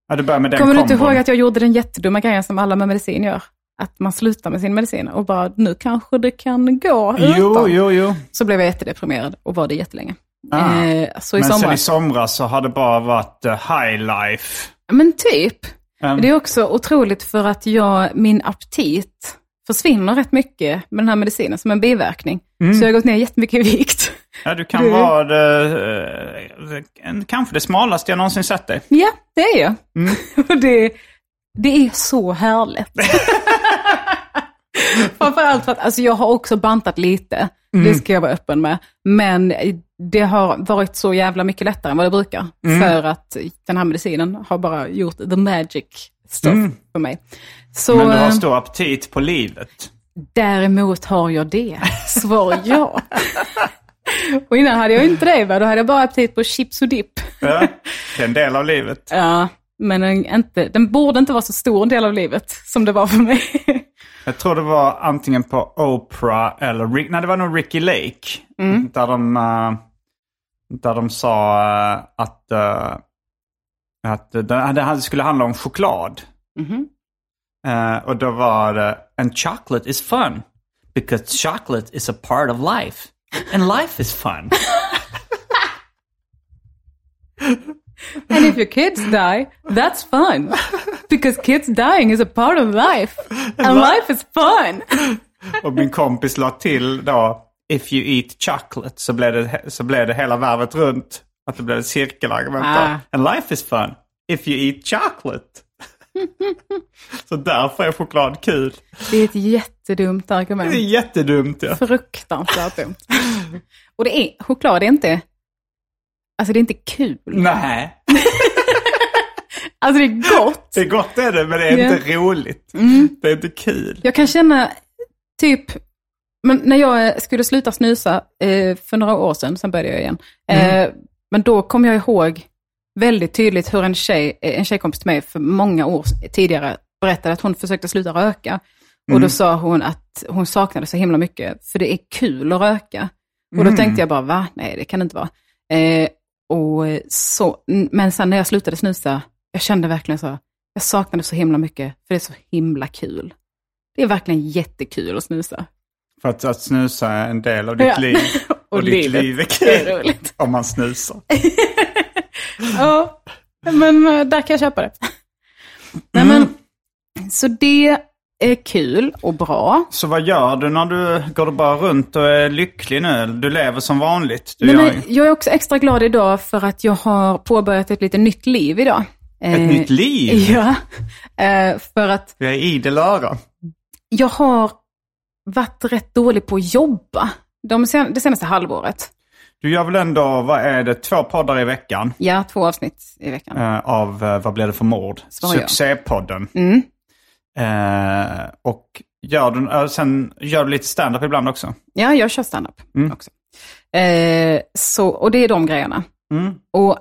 Speaker 2: Ja, du började med den
Speaker 3: Kommer du inte
Speaker 2: kombon.
Speaker 3: ihåg att jag gjorde den jättedumma grejen som alla med medicin gör? Att man slutar med sin medicin och bara, nu kanske det kan gå
Speaker 2: Jo,
Speaker 3: utan.
Speaker 2: jo, jo.
Speaker 3: Så blev jag jättedeprimerad och var det jättelänge.
Speaker 2: Ah.
Speaker 3: Eh, så i
Speaker 2: Men sen i
Speaker 3: somras.
Speaker 2: somras så har det bara varit eh, high life.
Speaker 3: Men typ.
Speaker 2: Mm.
Speaker 3: Det är också otroligt för att jag, min aptit försvinner rätt mycket med den här medicinen som en biverkning.
Speaker 2: Mm.
Speaker 3: Så jag har gått ner jättemycket i vikt.
Speaker 2: Ja, du kan
Speaker 3: Du-
Speaker 2: vara det, eh, en- kanske det smalaste jag någonsin sett dig.
Speaker 3: Ja, det är jag.
Speaker 2: Mm.
Speaker 3: Och det, det är så härligt. Framförallt för att alltså jag har också bantat lite,
Speaker 2: Mm.
Speaker 3: det ska jag vara öppen med. Men det har varit så jävla mycket lättare än vad det brukar.
Speaker 2: Mm.
Speaker 3: För att den här medicinen har bara gjort the magic stuff för mig. Så
Speaker 2: Mm. Men du har
Speaker 3: eh,
Speaker 2: stor aptit på livet.
Speaker 3: däremot har jag det, svar ja. och innan hade jag ju inte det, va? då hade jag bara aptit på chips och dipp.
Speaker 2: Ja, det är en del av livet.
Speaker 3: Ja, men den, inte, den borde inte vara så stor en del av livet som det var för mig.
Speaker 2: Jag tror det var antingen på Oprah eller Rick, nej, det var nog Ricky Lake. Där, de, eh, där de sa eh, att, eh, att eh, det det här skulle handla om choklad. Eh, och då var det, and chocolate is fun. Because chocolate is a part of life. And life is fun.
Speaker 3: And if your kids die, that's fun. Because kids dying is a part of life. And life is fun.
Speaker 2: Och min kompis la till då, if you eat chocolate, så blev det, så blev det hela värvet runt. Att det blev ett cirkelargument. då.
Speaker 3: Ah.
Speaker 2: And life is fun, if you eat chocolate. så därför är choklad kul.
Speaker 3: Det är ett jättedumt
Speaker 2: Det är
Speaker 3: argument.
Speaker 2: jättedumt ja.
Speaker 3: Fruktansvärt dumt. Och det är, choklad är inte, alltså det är inte kul.
Speaker 2: Nej,
Speaker 3: Alltså det är gott.
Speaker 2: det är gott är det, men det är
Speaker 3: Ja. Mm.
Speaker 2: inte roligt. Det är inte kul.
Speaker 3: Jag kan känna, typ, men när jag eh, skulle sluta snusa eh, för några år sedan, sen började jag igen. Eh, men då kom jag ihåg väldigt tydligt hur en tjej, eh, en tjejkompis till mig för många år s- tidigare berättade att hon försökte sluta röka. Och då sa hon att hon saknade så himla mycket, för det är kul att röka. Och då tänkte jag bara, va? Nej, det kan det inte vara. Eh, och så, n- men sen när jag slutade snusa, jag kände verkligen så, jag saknade så himla mycket, för det är så himla kul. Det är verkligen jättekul att snusa.
Speaker 2: För att, att snusa är en del av ditt
Speaker 3: Ja.
Speaker 2: liv.
Speaker 3: Och
Speaker 2: ditt
Speaker 3: livet.
Speaker 2: liv är
Speaker 3: Det är
Speaker 2: kul.
Speaker 3: roligt.
Speaker 2: Om man snusar.
Speaker 3: Ja, men eh, där kan jag köpa det. Nej, men,
Speaker 2: Mm.
Speaker 3: så det är kul och bra.
Speaker 2: Så vad gör du när du går du bara runt och är lycklig nu? Du lever som vanligt? Du
Speaker 3: Nej,
Speaker 2: gör
Speaker 3: men jag är också extra glad idag för att jag har påbörjat ett lite nytt liv idag. Eh,
Speaker 2: Ett nytt liv?
Speaker 3: Ja, eh, för att
Speaker 2: Jag är idel öra.
Speaker 3: jag har varit rätt dålig på att jobba de sen, det senaste halvåret.
Speaker 2: Du gör väl ändå, vad är det, två poddar i veckan
Speaker 3: Ja, två avsnitt i veckan.
Speaker 2: eh, av eh, Vad blir det för mord?
Speaker 3: Så gör jag.
Speaker 2: Succépodden.
Speaker 3: Mm.
Speaker 2: Eh, och gör du, eh, sen gör du lite standup ibland också.
Speaker 3: Ja, jag kör standup också. Eh, så, och det är de grejerna.
Speaker 2: Mm.
Speaker 3: Och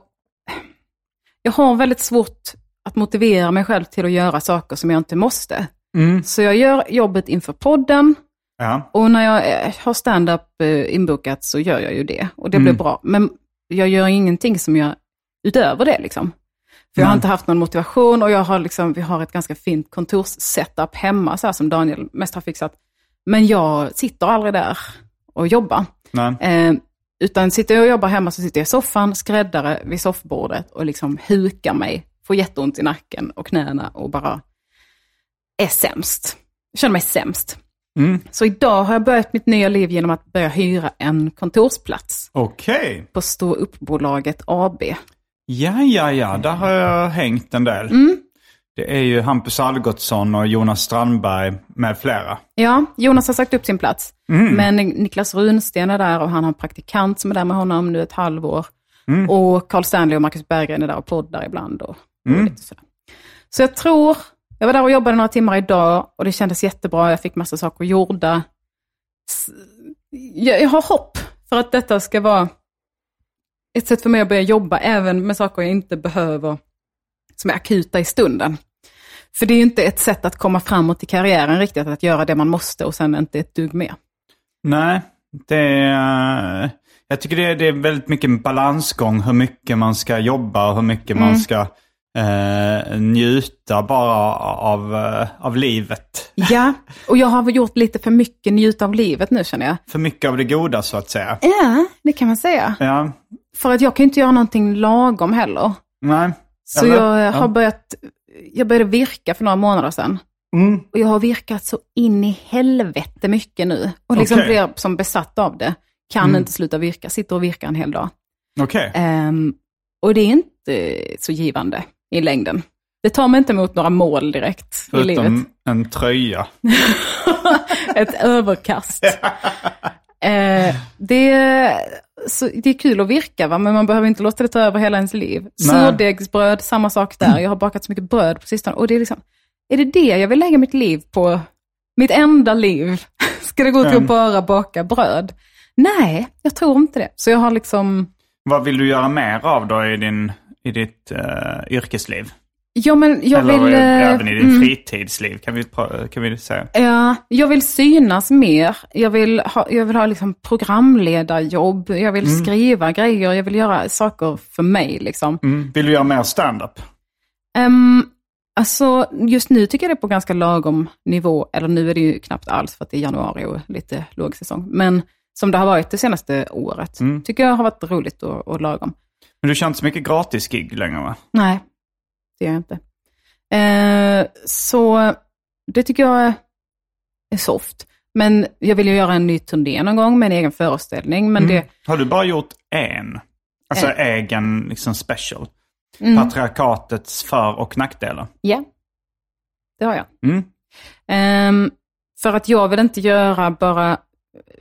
Speaker 3: jag har väldigt svårt att motivera mig själv till att göra saker som jag inte måste.
Speaker 2: Mm.
Speaker 3: Så jag gör jobbet inför podden
Speaker 2: Ja.
Speaker 3: och när jag eh, har standup eh, inbokat så gör jag ju det. Och det
Speaker 2: Mm.
Speaker 3: blir bra. Men jag gör ingenting som jag, utöver det liksom. För jag har
Speaker 2: Nej.
Speaker 3: inte haft någon motivation och jag har liksom, vi har ett ganska fint kontorssetup hemma, så här som Daniel mest har fixat. Men jag sitter aldrig där och jobbar.
Speaker 2: Nej.
Speaker 3: Eh, utan sitter jag och jobbar hemma så sitter jag i soffan, skräddare vid soffbordet och liksom hukar mig. Får jätteont i nacken och knäna och bara är sämst. Jag känner mig sämst.
Speaker 2: Mm.
Speaker 3: Så idag har jag börjat mitt nya liv genom att börja hyra en kontorsplats
Speaker 2: Okej.
Speaker 3: på Stå upp-bolaget AB.
Speaker 2: Ja, ja, ja. Där har jag hängt en del.
Speaker 3: Mm.
Speaker 2: Det är ju Hampus Algotsson och Jonas Strandberg med flera.
Speaker 3: Ja, Jonas har sagt upp sin plats. Men Niklas Runsten är där och han har en praktikant som är där med honom nu ett halvår. Och Carl Stanley och Marcus Berggren är där och poddar ibland. Och, och lite sådär. Så jag tror, jag var där och jobbade några timmar idag och det kändes jättebra. Jag fick massa saker gjorda. S- Jag, jag har hopp för att detta ska vara ett sätt för mig att börja jobba även med saker jag inte behöver, som är akuta i stunden. För det är ju inte ett sätt att komma framåt i karriären riktigt, att göra det man måste och sen inte ett dugg mer.
Speaker 2: Nej, det är, eh, jag tycker det är, det är väldigt mycket en balansgång hur mycket man ska jobba och hur mycket man
Speaker 3: Mm.
Speaker 2: ska eh, njuta bara av, eh, av livet.
Speaker 3: Ja, och jag har väl gjort lite för mycket njuta av livet nu känner jag.
Speaker 2: För mycket av det goda så att säga.
Speaker 3: Ja, det kan man säga.
Speaker 2: Ja,
Speaker 3: För att jag kan ju inte göra någonting lagom heller.
Speaker 2: nej.
Speaker 3: Så
Speaker 2: Eller?
Speaker 3: jag har
Speaker 2: Ja.
Speaker 3: börjat, jag började virka för några månader sedan.
Speaker 2: Mm.
Speaker 3: Och jag har virkat så in i helvete mycket nu. Och liksom
Speaker 2: Okej.
Speaker 3: blir som besatt av det. Kan inte sluta virka, sitter och virkar en hel dag.
Speaker 2: Okej.
Speaker 3: Ehm, och det är inte så givande i längden. Det tar mig inte emot några mål direkt i livet.
Speaker 2: Förutom en tröja.
Speaker 3: Ett överkast. Eh, det, är- så, det är kul att virka, va? men man behöver inte låta det ta över hela ens liv.
Speaker 2: Nej. Mm.
Speaker 3: Surdegsbröd, samma sak där. Jag har bakat så mycket bröd på sistone. Och det är, liksom, är det det jag vill lägga mitt liv på? Mitt enda liv? Ska det gå till att
Speaker 2: Mm.
Speaker 3: bara baka bröd? Nej, jag tror inte det. Så jag har liksom...
Speaker 2: Vad vill du göra mer av då i, din, i ditt eh, yrkesliv?
Speaker 3: Ja, men jag
Speaker 2: Eller
Speaker 3: vill... eh,
Speaker 2: även i ditt fritidsliv kan vi, pra- kan vi säga.
Speaker 3: Ja, jag vill synas mer. Jag vill ha, jag vill ha liksom programledarjobb. Jag vill skriva grejer. Jag vill göra saker för mig. Liksom.
Speaker 2: Mm. Vill du göra mer stand-up?
Speaker 3: Ehm, alltså, just nu tycker jag det är på ganska lagom nivå. Eller nu är det ju knappt alls för att det är januari och lite låg säsong. Men som det har varit det senaste året. Tycker jag har varit roligt och, och lagom.
Speaker 2: Men du kör inte så mycket gratis-gig längre va?
Speaker 3: Nej, det gör jag inte. Eh, så det tycker jag är- är soft. Men jag vill ju göra en ny turné någon gång med en egen föreställning. Men det,
Speaker 2: Har du bara gjort en? Alltså
Speaker 3: Eh.
Speaker 2: egen liksom special? Mm.
Speaker 3: Mm.
Speaker 2: Patriarkatets för och nackdelar?
Speaker 3: ja, det har jag.
Speaker 2: Mm.
Speaker 3: Ehm, för att jag vill inte göra bara...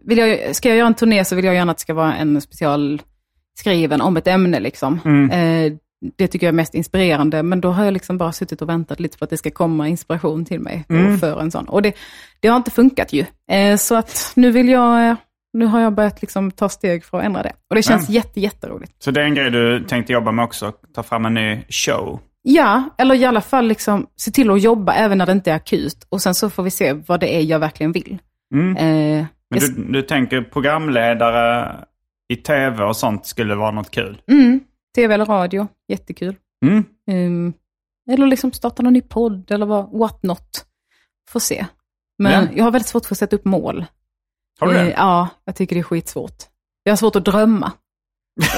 Speaker 3: Vill jag, ska jag göra en turné så vill jag gärna att det ska vara en specialskriven om ett ämne. Liksom.
Speaker 2: Mm.
Speaker 3: Eh, det tycker jag är mest inspirerande, men då har jag liksom bara suttit och väntat lite på att det ska komma inspiration till mig och för en sån. Och det, det har inte funkat ju. Eh, så att nu vill jag... eh, Nu har jag börjat liksom ta steg för att ändra det. Och det känns jätte, jätteroligt.
Speaker 2: Så det är en grej du tänkte jobba med också? Ta fram en ny show?
Speaker 3: Ja, eller i alla fall liksom, se till att jobba även när det inte är akut. Och sen så får vi se vad det är jag verkligen vill.
Speaker 2: Mm.
Speaker 3: Eh,
Speaker 2: Men
Speaker 3: jag
Speaker 2: du, du tänker programledare i tv och sånt skulle vara något kul?
Speaker 3: Mm, tv eller radio, jättekul.
Speaker 2: Mm.
Speaker 3: Um, eller liksom starta någon ny podd eller vad, what not. Får se. Men
Speaker 2: Ja.
Speaker 3: jag har väldigt svårt för att sätta upp mål.
Speaker 2: Har du
Speaker 3: Eh,
Speaker 2: det?
Speaker 3: Ja, jag tycker det är skitsvårt. Jag har svårt att drömma.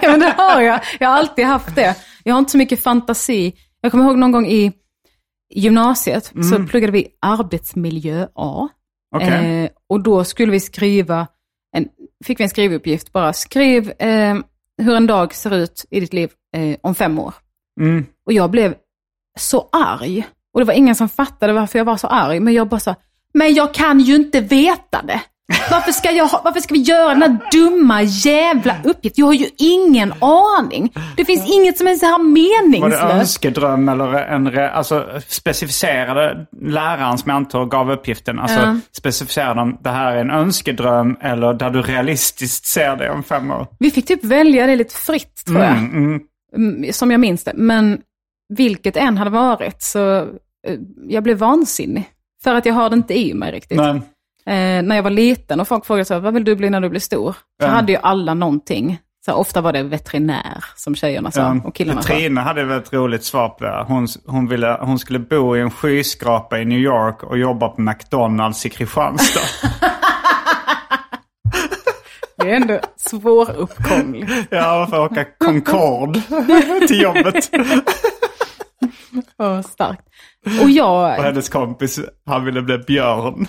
Speaker 3: ja, men det har jag. Jag har alltid haft det. Jag har inte så mycket fantasi. Jag kommer ihåg någon gång i gymnasiet så pluggade vi arbetsmiljö A.
Speaker 2: Mm. Okej.
Speaker 3: Eh, och då skulle vi skriva, en, fick vi en skrivuppgift bara, skriv eh, hur en dag ser ut i ditt liv eh, om fem år.
Speaker 2: Mm.
Speaker 3: Och jag blev så arg. Och det var ingen som fattade varför jag var så arg, men jag bara sa, men jag kan ju inte veta det. Varför ska, jag, ha- varför ska vi göra den här dumma jävla uppgiften? Jag har ju ingen aning. Det finns inget som är så här
Speaker 2: Var det
Speaker 3: meningslöst.
Speaker 2: önskedröm eller en re, alltså specificerade läraren som jag antar gav uppgiften? Alltså
Speaker 3: Ja.
Speaker 2: specificerade om det här är en önskedröm eller där du realistiskt ser det om fem år?
Speaker 3: Vi fick typ välja det lite fritt tror jag.
Speaker 2: Mm, mm.
Speaker 3: Mm, som jag minns det. Men vilket än hade varit så eh, jag blev vansinnig. För att jag har det inte i mig riktigt.
Speaker 2: Men,
Speaker 3: Eh, när jag var liten och folk frågade så här, vad vill du bli när du blir stor? Så hade ju alla någonting. Så här, ofta var det veterinär som tjejerna sa
Speaker 2: um,
Speaker 3: och killarna sa.
Speaker 2: Petrina hade ett väldigt roligt svar på det. här. Hon, hon, ville, hon skulle bo i en skyskrapa i New York och jobba på McDonalds i Kristianstad.
Speaker 3: Det är ändå svåruppkomligt.
Speaker 2: ja, för att åka Concorde till jobbet.
Speaker 3: och starkt. Och
Speaker 2: Och
Speaker 3: jag,
Speaker 2: hennes kompis, han ville bli björn.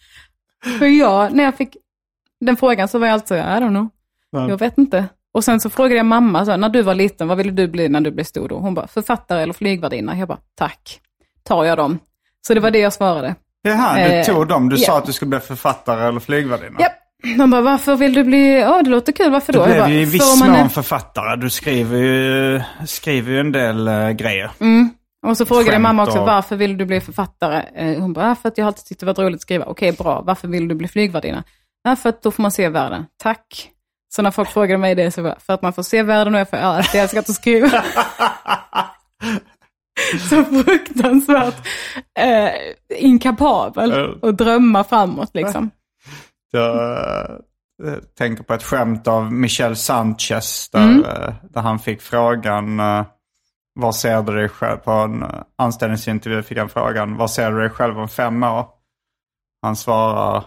Speaker 3: För jag, när jag fick den frågan så var jag alltid så, I don't know. Jag vet inte. Och sen så frågade jag mamma, så här, när du var liten, vad ville du bli när du blev stor då? Hon bara, författare eller flygvärdinna? Jag bara, tack. Tar jag dem? Så det var det jag svarade.
Speaker 2: Jaha, du
Speaker 3: Eh,
Speaker 2: tog dem. Du
Speaker 3: ja.
Speaker 2: sa att du skulle bli författare eller flygvärdinna.
Speaker 3: Japp. De bara, varför vill du bli, ja det låter kul, varför
Speaker 2: Du
Speaker 3: då? Jag
Speaker 2: blev
Speaker 3: bara,
Speaker 2: ju i
Speaker 3: "För om
Speaker 2: viss
Speaker 3: man är-
Speaker 2: mån författare. Du skriver ju, skriver ju en del eh, grejer.
Speaker 3: Och så frågade
Speaker 2: Skämt
Speaker 3: mamma också,
Speaker 2: och-
Speaker 3: varför vill du bli författare? Eh, Hon bara, "Ah, för att jag alltid tyckte det var roligt att skriva. Okej, bra. Varför vill du bli flygvärdinna? "Ah, För att då får man se världen. Tack. Så när folk frågade mig det så var för att man får se världen och jag får, ja, att jag älskar att skriva. så fruktansvärt eh, inkapabel
Speaker 2: Ja.
Speaker 3: att drömma framåt liksom.
Speaker 2: Jag eh, tänker på ett skämt av Michel Sanchez där, eh, där han fick frågan eh, vad ser du dig själv på en eh, anställningsintervju fick han frågan vad ser du dig själv om fem år? Han svarar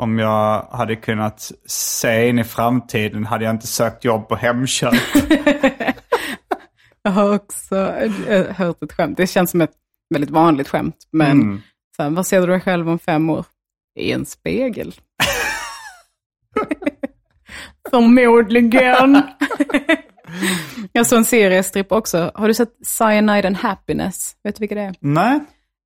Speaker 2: om jag hade kunnat se in i framtiden hade jag inte sökt jobb på Hemköp.
Speaker 3: Jag har också eh, hört ett skämt. Det känns som ett väldigt vanligt skämt. Men
Speaker 2: Mm.
Speaker 3: så här, vad ser du dig själv om fem år? I en spegel. Förmodligen. jag såg en seriestripp också. Har du sett Cyanide and Happiness? Vet du vilka det är?
Speaker 2: Nej,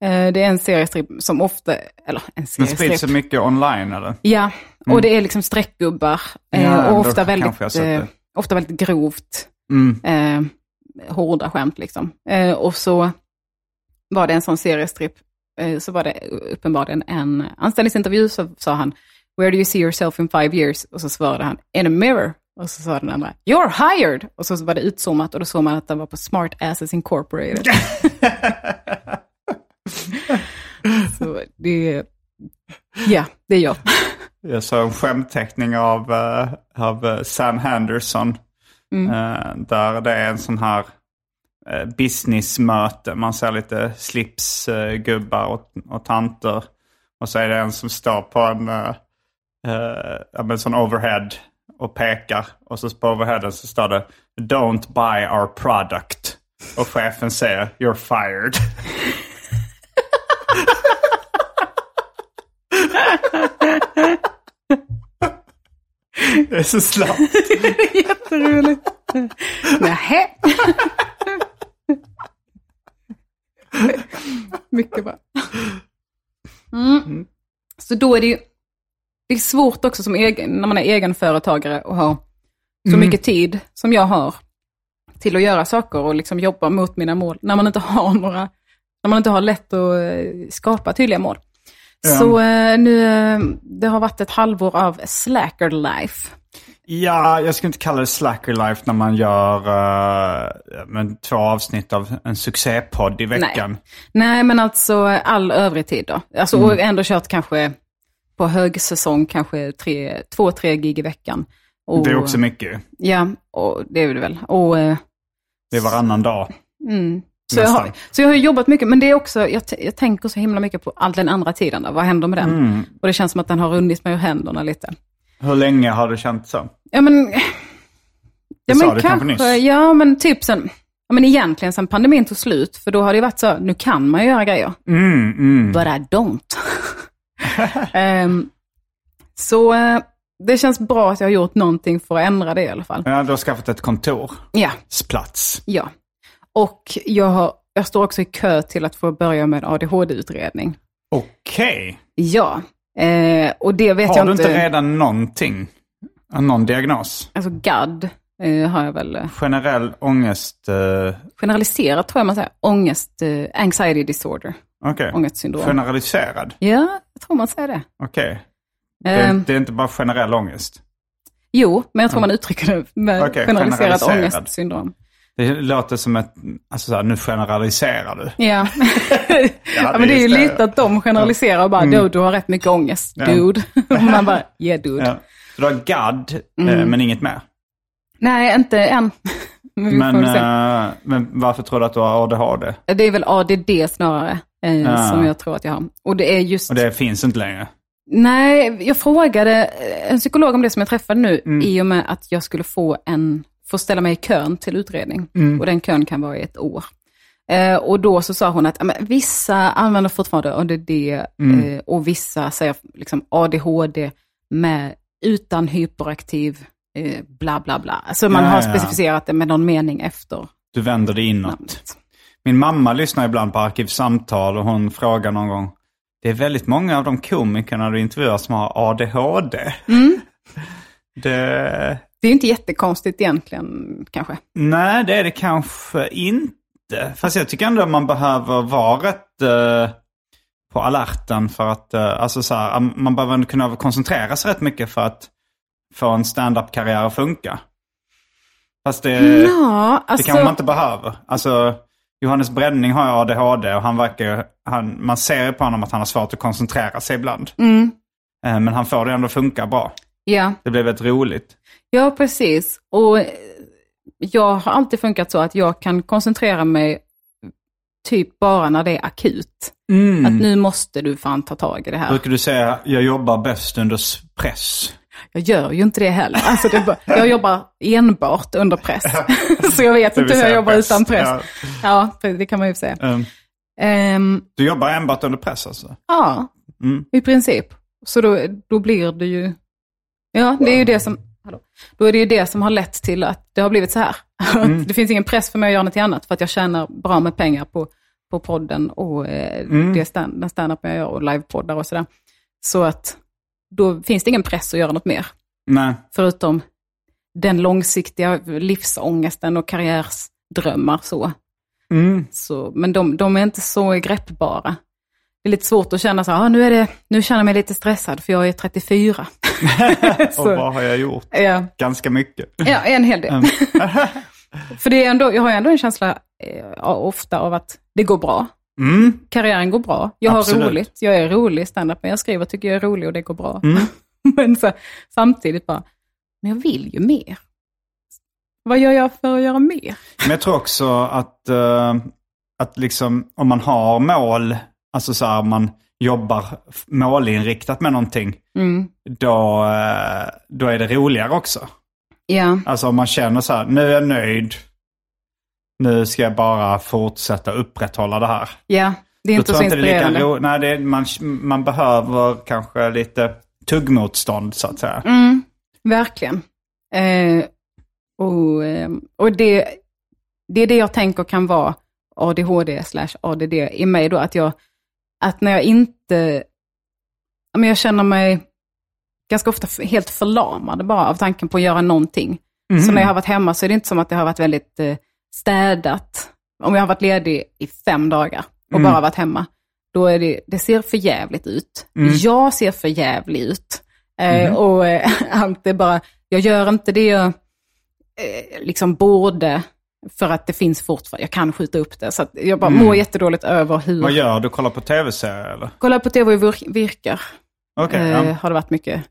Speaker 3: Eh, Det är en seriestripp som ofta, eller en
Speaker 2: den sprids så
Speaker 3: seriestripp.
Speaker 2: mycket online eller?
Speaker 3: Ja, och det är liksom streckgubbar. eh,
Speaker 2: Mm. Ja,
Speaker 3: och
Speaker 2: då
Speaker 3: ofta
Speaker 2: kanske jag har
Speaker 3: väldigt,
Speaker 2: sett det.
Speaker 3: eh, ofta väldigt grovt
Speaker 2: Mm.
Speaker 3: eh, hårda skämt liksom. Eh, och så var det en sån seriestripp, eh, så var det uppenbarligen en anställningsintervju, så sa han “Where do you see yourself in five years?” och så svarade han “In a mirror” och så sa den andra “You're hired!” och så var det utzoomat och då såg man att den var på Smart Asses Incorporated. så det, ja, det är jag.
Speaker 2: Jag såg en skämtteckning av, eh, av eh, Sam Henderson. eh, där det är en sån här eh, businessmöte. Man ser lite slipsgubbar och, och tanter. Och så är det en som står på en eh, eh, ja, men sån overhead och pekar. Och så på overheaden så står det Don't buy our product. Och chefen säger You're fired. Det är så slappt.
Speaker 3: Jätteroligt. Nähä. Mycket bra. Mm. Så då är det ju det är svårt också som egen, när man är egenföretagare och har så mycket tid som jag har till att göra saker och liksom jobba mot mina mål när man inte har några, när man inte har lätt att eh, skapa tydliga mål. Så eh, nu, eh, det har varit ett halvår av slacker life.
Speaker 2: Ja, jag skulle inte kalla det slacker life när man gör eh, men två avsnitt av en succépodd i veckan.
Speaker 3: Nej, men alltså all övrig tid då. Alltså, Och
Speaker 2: Mm.
Speaker 3: ändå kört kanske på högsäsong kanske tre, två, tre gig i veckan. Och,
Speaker 2: Det är också mycket.
Speaker 3: Ja, och det är det väl. Och, eh,
Speaker 2: Det är varannan dag.
Speaker 3: mm. så, jag
Speaker 2: Nästan.
Speaker 3: har, så jag har ju jobbat mycket, men det är också, jag, t- jag tänker så himla mycket på all den andra tiden. Då. Vad händer med den?
Speaker 2: Mm.
Speaker 3: Och det känns som att den har runnit mig ur händerna lite.
Speaker 2: Hur länge har du känt så?
Speaker 3: Ja, men... Ja,
Speaker 2: sa
Speaker 3: men
Speaker 2: du kanske nyss.
Speaker 3: Ja, men typ sen... Ja, men egentligen sen pandemin tog slut, för då har det ju varit så, nu kan man ju göra grejer.
Speaker 2: Mm, mm.
Speaker 3: But I don't. Ehm, så eh, det känns bra att jag har gjort någonting för att ändra det i alla fall.
Speaker 2: Ja, du har skaffat ett kontor.
Speaker 3: Ja,
Speaker 2: Plats.
Speaker 3: ja. Och jag, har, jag står också i kö till att få börja med en ADHD-utredning.
Speaker 2: Okej.
Speaker 3: Ja, eh, och det vet
Speaker 2: Har
Speaker 3: jag
Speaker 2: du
Speaker 3: inte.
Speaker 2: inte redan någonting? Någon diagnos?
Speaker 3: Alltså GAD eh, har jag väl eh,
Speaker 2: Generell ångest... eh,
Speaker 3: generaliserat tror jag man säger. Ångest, eh, anxiety disorder,
Speaker 2: Okej.
Speaker 3: ångestsyndrom.
Speaker 2: Generaliserad?
Speaker 3: ja, jag tror man säger det.
Speaker 2: Okej.
Speaker 3: Eh,
Speaker 2: Det, det är inte bara generell ångest.
Speaker 3: jo, men jag tror man uttrycker det med
Speaker 2: Mm. Okej,
Speaker 3: generaliserat
Speaker 2: generaliserad.
Speaker 3: ångestsyndrom.
Speaker 2: Det låter som ett... Alltså så här, nu generaliserar du.
Speaker 3: Ja. ja,
Speaker 2: det
Speaker 3: men det är ju
Speaker 2: just det. Mm.
Speaker 3: lite att de generaliserar och bara, du, du har rätt mycket ångest,
Speaker 2: Ja.
Speaker 3: dude. Och man bara, yeah dude.
Speaker 2: Ja. Så du har gadd, eh,
Speaker 3: Mm.
Speaker 2: men inget mer.
Speaker 3: Nej, inte än. Men, vi
Speaker 2: Men,
Speaker 3: Mm, får väl se.
Speaker 2: eh, men varför tror du att du har ADHD?
Speaker 3: det är väl ADD snarare, eh,
Speaker 2: Ja.
Speaker 3: som jag tror att jag har. Och det är just,
Speaker 2: Och det finns inte längre.
Speaker 3: nej, jag frågade eh, en psykolog om det som jag träffade nu,
Speaker 2: Mm.
Speaker 3: i och med att jag skulle få en, få ställa mig i kön till utredning.
Speaker 2: Mm.
Speaker 3: Och den kön kan vara i ett år. Eh, och då så sa hon att ja, men, vissa använder fortfarande ADD
Speaker 2: Mm.
Speaker 3: eh, och vissa säger liksom ADHD med, utan hyperaktiv, eh, bla bla bla. Alltså man
Speaker 2: Ja,
Speaker 3: har
Speaker 2: ja, ja.
Speaker 3: specificerat det med någon mening efter
Speaker 2: Du vänder det inåt.
Speaker 3: namnet.
Speaker 2: Min mamma lyssnar ibland på Arkivsamtal och hon frågar någon gång. Det är väldigt många av de komikerna du intervjuar som har ADHD.
Speaker 3: Mm.
Speaker 2: Det,
Speaker 3: Det är ju inte jättekonstigt egentligen kanske.
Speaker 2: Eh, nej, det är det kanske inte. Fast jag tycker ändå att man behöver vara rätt eh, på alerten för att, eh, alltså så här, man behöver ändå kunna koncentrera sig rätt mycket för att få en stand-up-karriär att funka. Fast det...
Speaker 3: Ja,
Speaker 2: Det
Speaker 3: alltså,
Speaker 2: kanske man inte behöver. Alltså, Johannes Bränning har ju ADHD och han verkar, han, man ser ju på honom att han har svårt att koncentrera sig ibland.
Speaker 3: Mm.
Speaker 2: Eh, Men han får det ändå att funka bra.
Speaker 3: ja,
Speaker 2: Det blev väldigt roligt.
Speaker 3: ja, precis. Och eh, jag har alltid funkat så att jag kan koncentrera mig typ bara när det är akut. Att nu måste du fan ta tag i det här.
Speaker 2: Mm. Brukar du säga, jag jobbar bäst under s- press?
Speaker 3: Jag gör ju inte det heller. Alltså, det är bara, jag jobbar enbart under press. så jag vet
Speaker 2: Det
Speaker 3: inte
Speaker 2: vill
Speaker 3: hur jag
Speaker 2: säga
Speaker 3: jobbar
Speaker 2: press.
Speaker 3: utan press. Ja. det kan man ju säga.
Speaker 2: Eh,
Speaker 3: Ehm,
Speaker 2: Du jobbar enbart under press alltså?
Speaker 3: Ja,
Speaker 2: Mm.
Speaker 3: i princip. Så då, då blir det ju... Ja, det är ju det som... Hallå. Då är det ju det som har lett till att det har blivit så här. Att Det finns ingen press för mig att göra något annat, för att jag tjänar bra med pengar på, på podden och eh, det stand, den standup jag gör och livepoddar och sådär. Så att då finns det ingen press att göra något mer,
Speaker 2: Nej.
Speaker 3: förutom den långsiktiga livsångesten och karriärsdrömmar. Så.
Speaker 2: Mm.
Speaker 3: Så, men de, de är inte så greppbara. Det är lite svårt att känna så här, ah, nu, är det, nu känner jag mig lite stressad för jag är 34.
Speaker 2: Och
Speaker 3: så,
Speaker 2: vad har jag gjort?
Speaker 3: ja,
Speaker 2: Ganska mycket.
Speaker 3: ja, en hel del. för det är ändå, jag har ändå en känsla eh, ofta av att det går bra.
Speaker 2: Mm.
Speaker 3: Karriären går bra, jag har
Speaker 2: Absolut.
Speaker 3: roligt, jag är rolig i standup, men jag skriver och tycker jag är rolig och det går bra.
Speaker 2: Mm.
Speaker 3: men så, samtidigt bara, men jag vill ju mer. Vad gör jag för att göra mer?
Speaker 2: Men jag tror också att, eh, att liksom, om man har mål, alltså så här, man jobbar f- målinriktat med någonting, då, eh, då är det roligare också.
Speaker 3: Ja,
Speaker 2: Alltså om man känner så här, nu är jag nöjd, nu ska jag bara fortsätta upprätthålla det här.
Speaker 3: ja. det är
Speaker 2: Då
Speaker 3: inte
Speaker 2: tror
Speaker 3: så
Speaker 2: jag det är
Speaker 3: inspirerande.
Speaker 2: lika ro- Nej, det är, man, man behöver kanske lite tuggmotstånd så att säga.
Speaker 3: Mm, verkligen. Eh, och eh, och det, det är det jag tänker kan vara ADHD slash ADD i mig då, att, jag, att när jag inte, ja, men jag känner mig ganska ofta f- helt förlamad bara av tanken på att göra någonting. Så när jag har varit hemma så är det inte som att det har varit väldigt eh, städat. Om jag har varit ledig i fem dagar och bara varit hemma, då är det, det ser för jävligt ut. Jag ser för jävlig ut. Eh, Och eh, Ante bara, jag gör inte det jag eh, liksom borde, för att det finns fortfarande, jag kan skjuta upp det. Så att jag bara mår jättedåligt över hur...
Speaker 2: Vad gör du? Kollar på tv-serier eller?
Speaker 3: Kolla på tv och vir- virkar,
Speaker 2: Okej,
Speaker 3: eh,
Speaker 2: ja.
Speaker 3: har det varit mycket.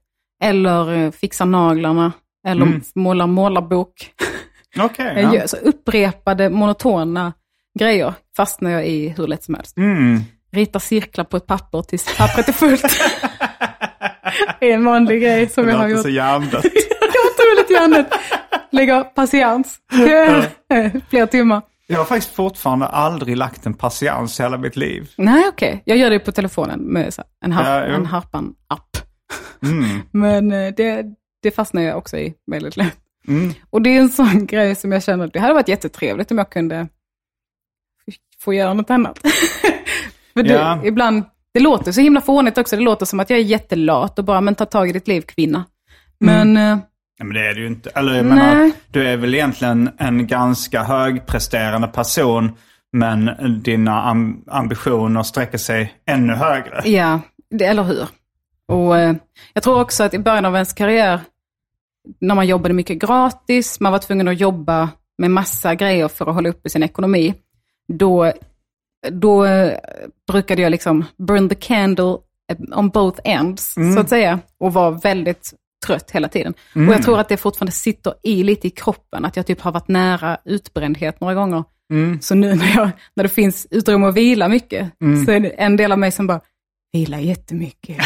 Speaker 3: Eller eh, fixa naglarna, eller
Speaker 2: Mm.
Speaker 3: måla målarbok.
Speaker 2: Okej,
Speaker 3: Jag
Speaker 2: ja.
Speaker 3: gör så upprepade, monotona grejer, fastnar jag i hur lätt som helst.
Speaker 2: Mm.
Speaker 3: Rita cirklar på ett papper tills pappret är fullt. det är en vanlig grej som
Speaker 2: Det
Speaker 3: jag har
Speaker 2: låter
Speaker 3: gjort.
Speaker 2: så hjärndött.
Speaker 3: otroligt hjärnet. Lägger patiens. Flera timmar.
Speaker 2: Jag har faktiskt fortfarande aldrig lagt en patiens i hela mitt liv.
Speaker 3: Nej, okej. Jag gör det på telefonen med så här en, harp,
Speaker 2: Ja, jo. Mm.
Speaker 3: en harpan-app. Men eh, det, det fastnar jag också i väldigt lätt.
Speaker 2: Mm.
Speaker 3: Och det är en sån grej som jag känner att det hade varit jättetrevligt om jag kunde få göra något annat. För det,
Speaker 2: Ja.
Speaker 3: ibland, det låter så himla fånigt också. Det låter som att jag är jättelat och bara, men ta tag i ditt liv kvinna.
Speaker 2: Mm.
Speaker 3: Men eh,
Speaker 2: Nej, men det är du ju inte. Eller jag menar,
Speaker 3: Nej.
Speaker 2: du är väl egentligen en ganska högpresterande person. Men dina am- ambitioner sträcker sig ännu högre.
Speaker 3: Ja, det, eller hur? Och eh, Jag tror också att i början av ens karriär, när man jobbade mycket gratis, man var tvungen att jobba med massa grejer för att hålla uppe sin ekonomi, då, då eh, brukade jag liksom burn the candle eh, on both ends, så att säga, och vara väldigt trött hela tiden. Och jag tror att det fortfarande sitter i lite i kroppen, att jag typ har varit nära utbrändhet några gånger. Så nu när, jag, när det finns utrymme att vila mycket, så är det en del av mig som bara, vila jättemycket.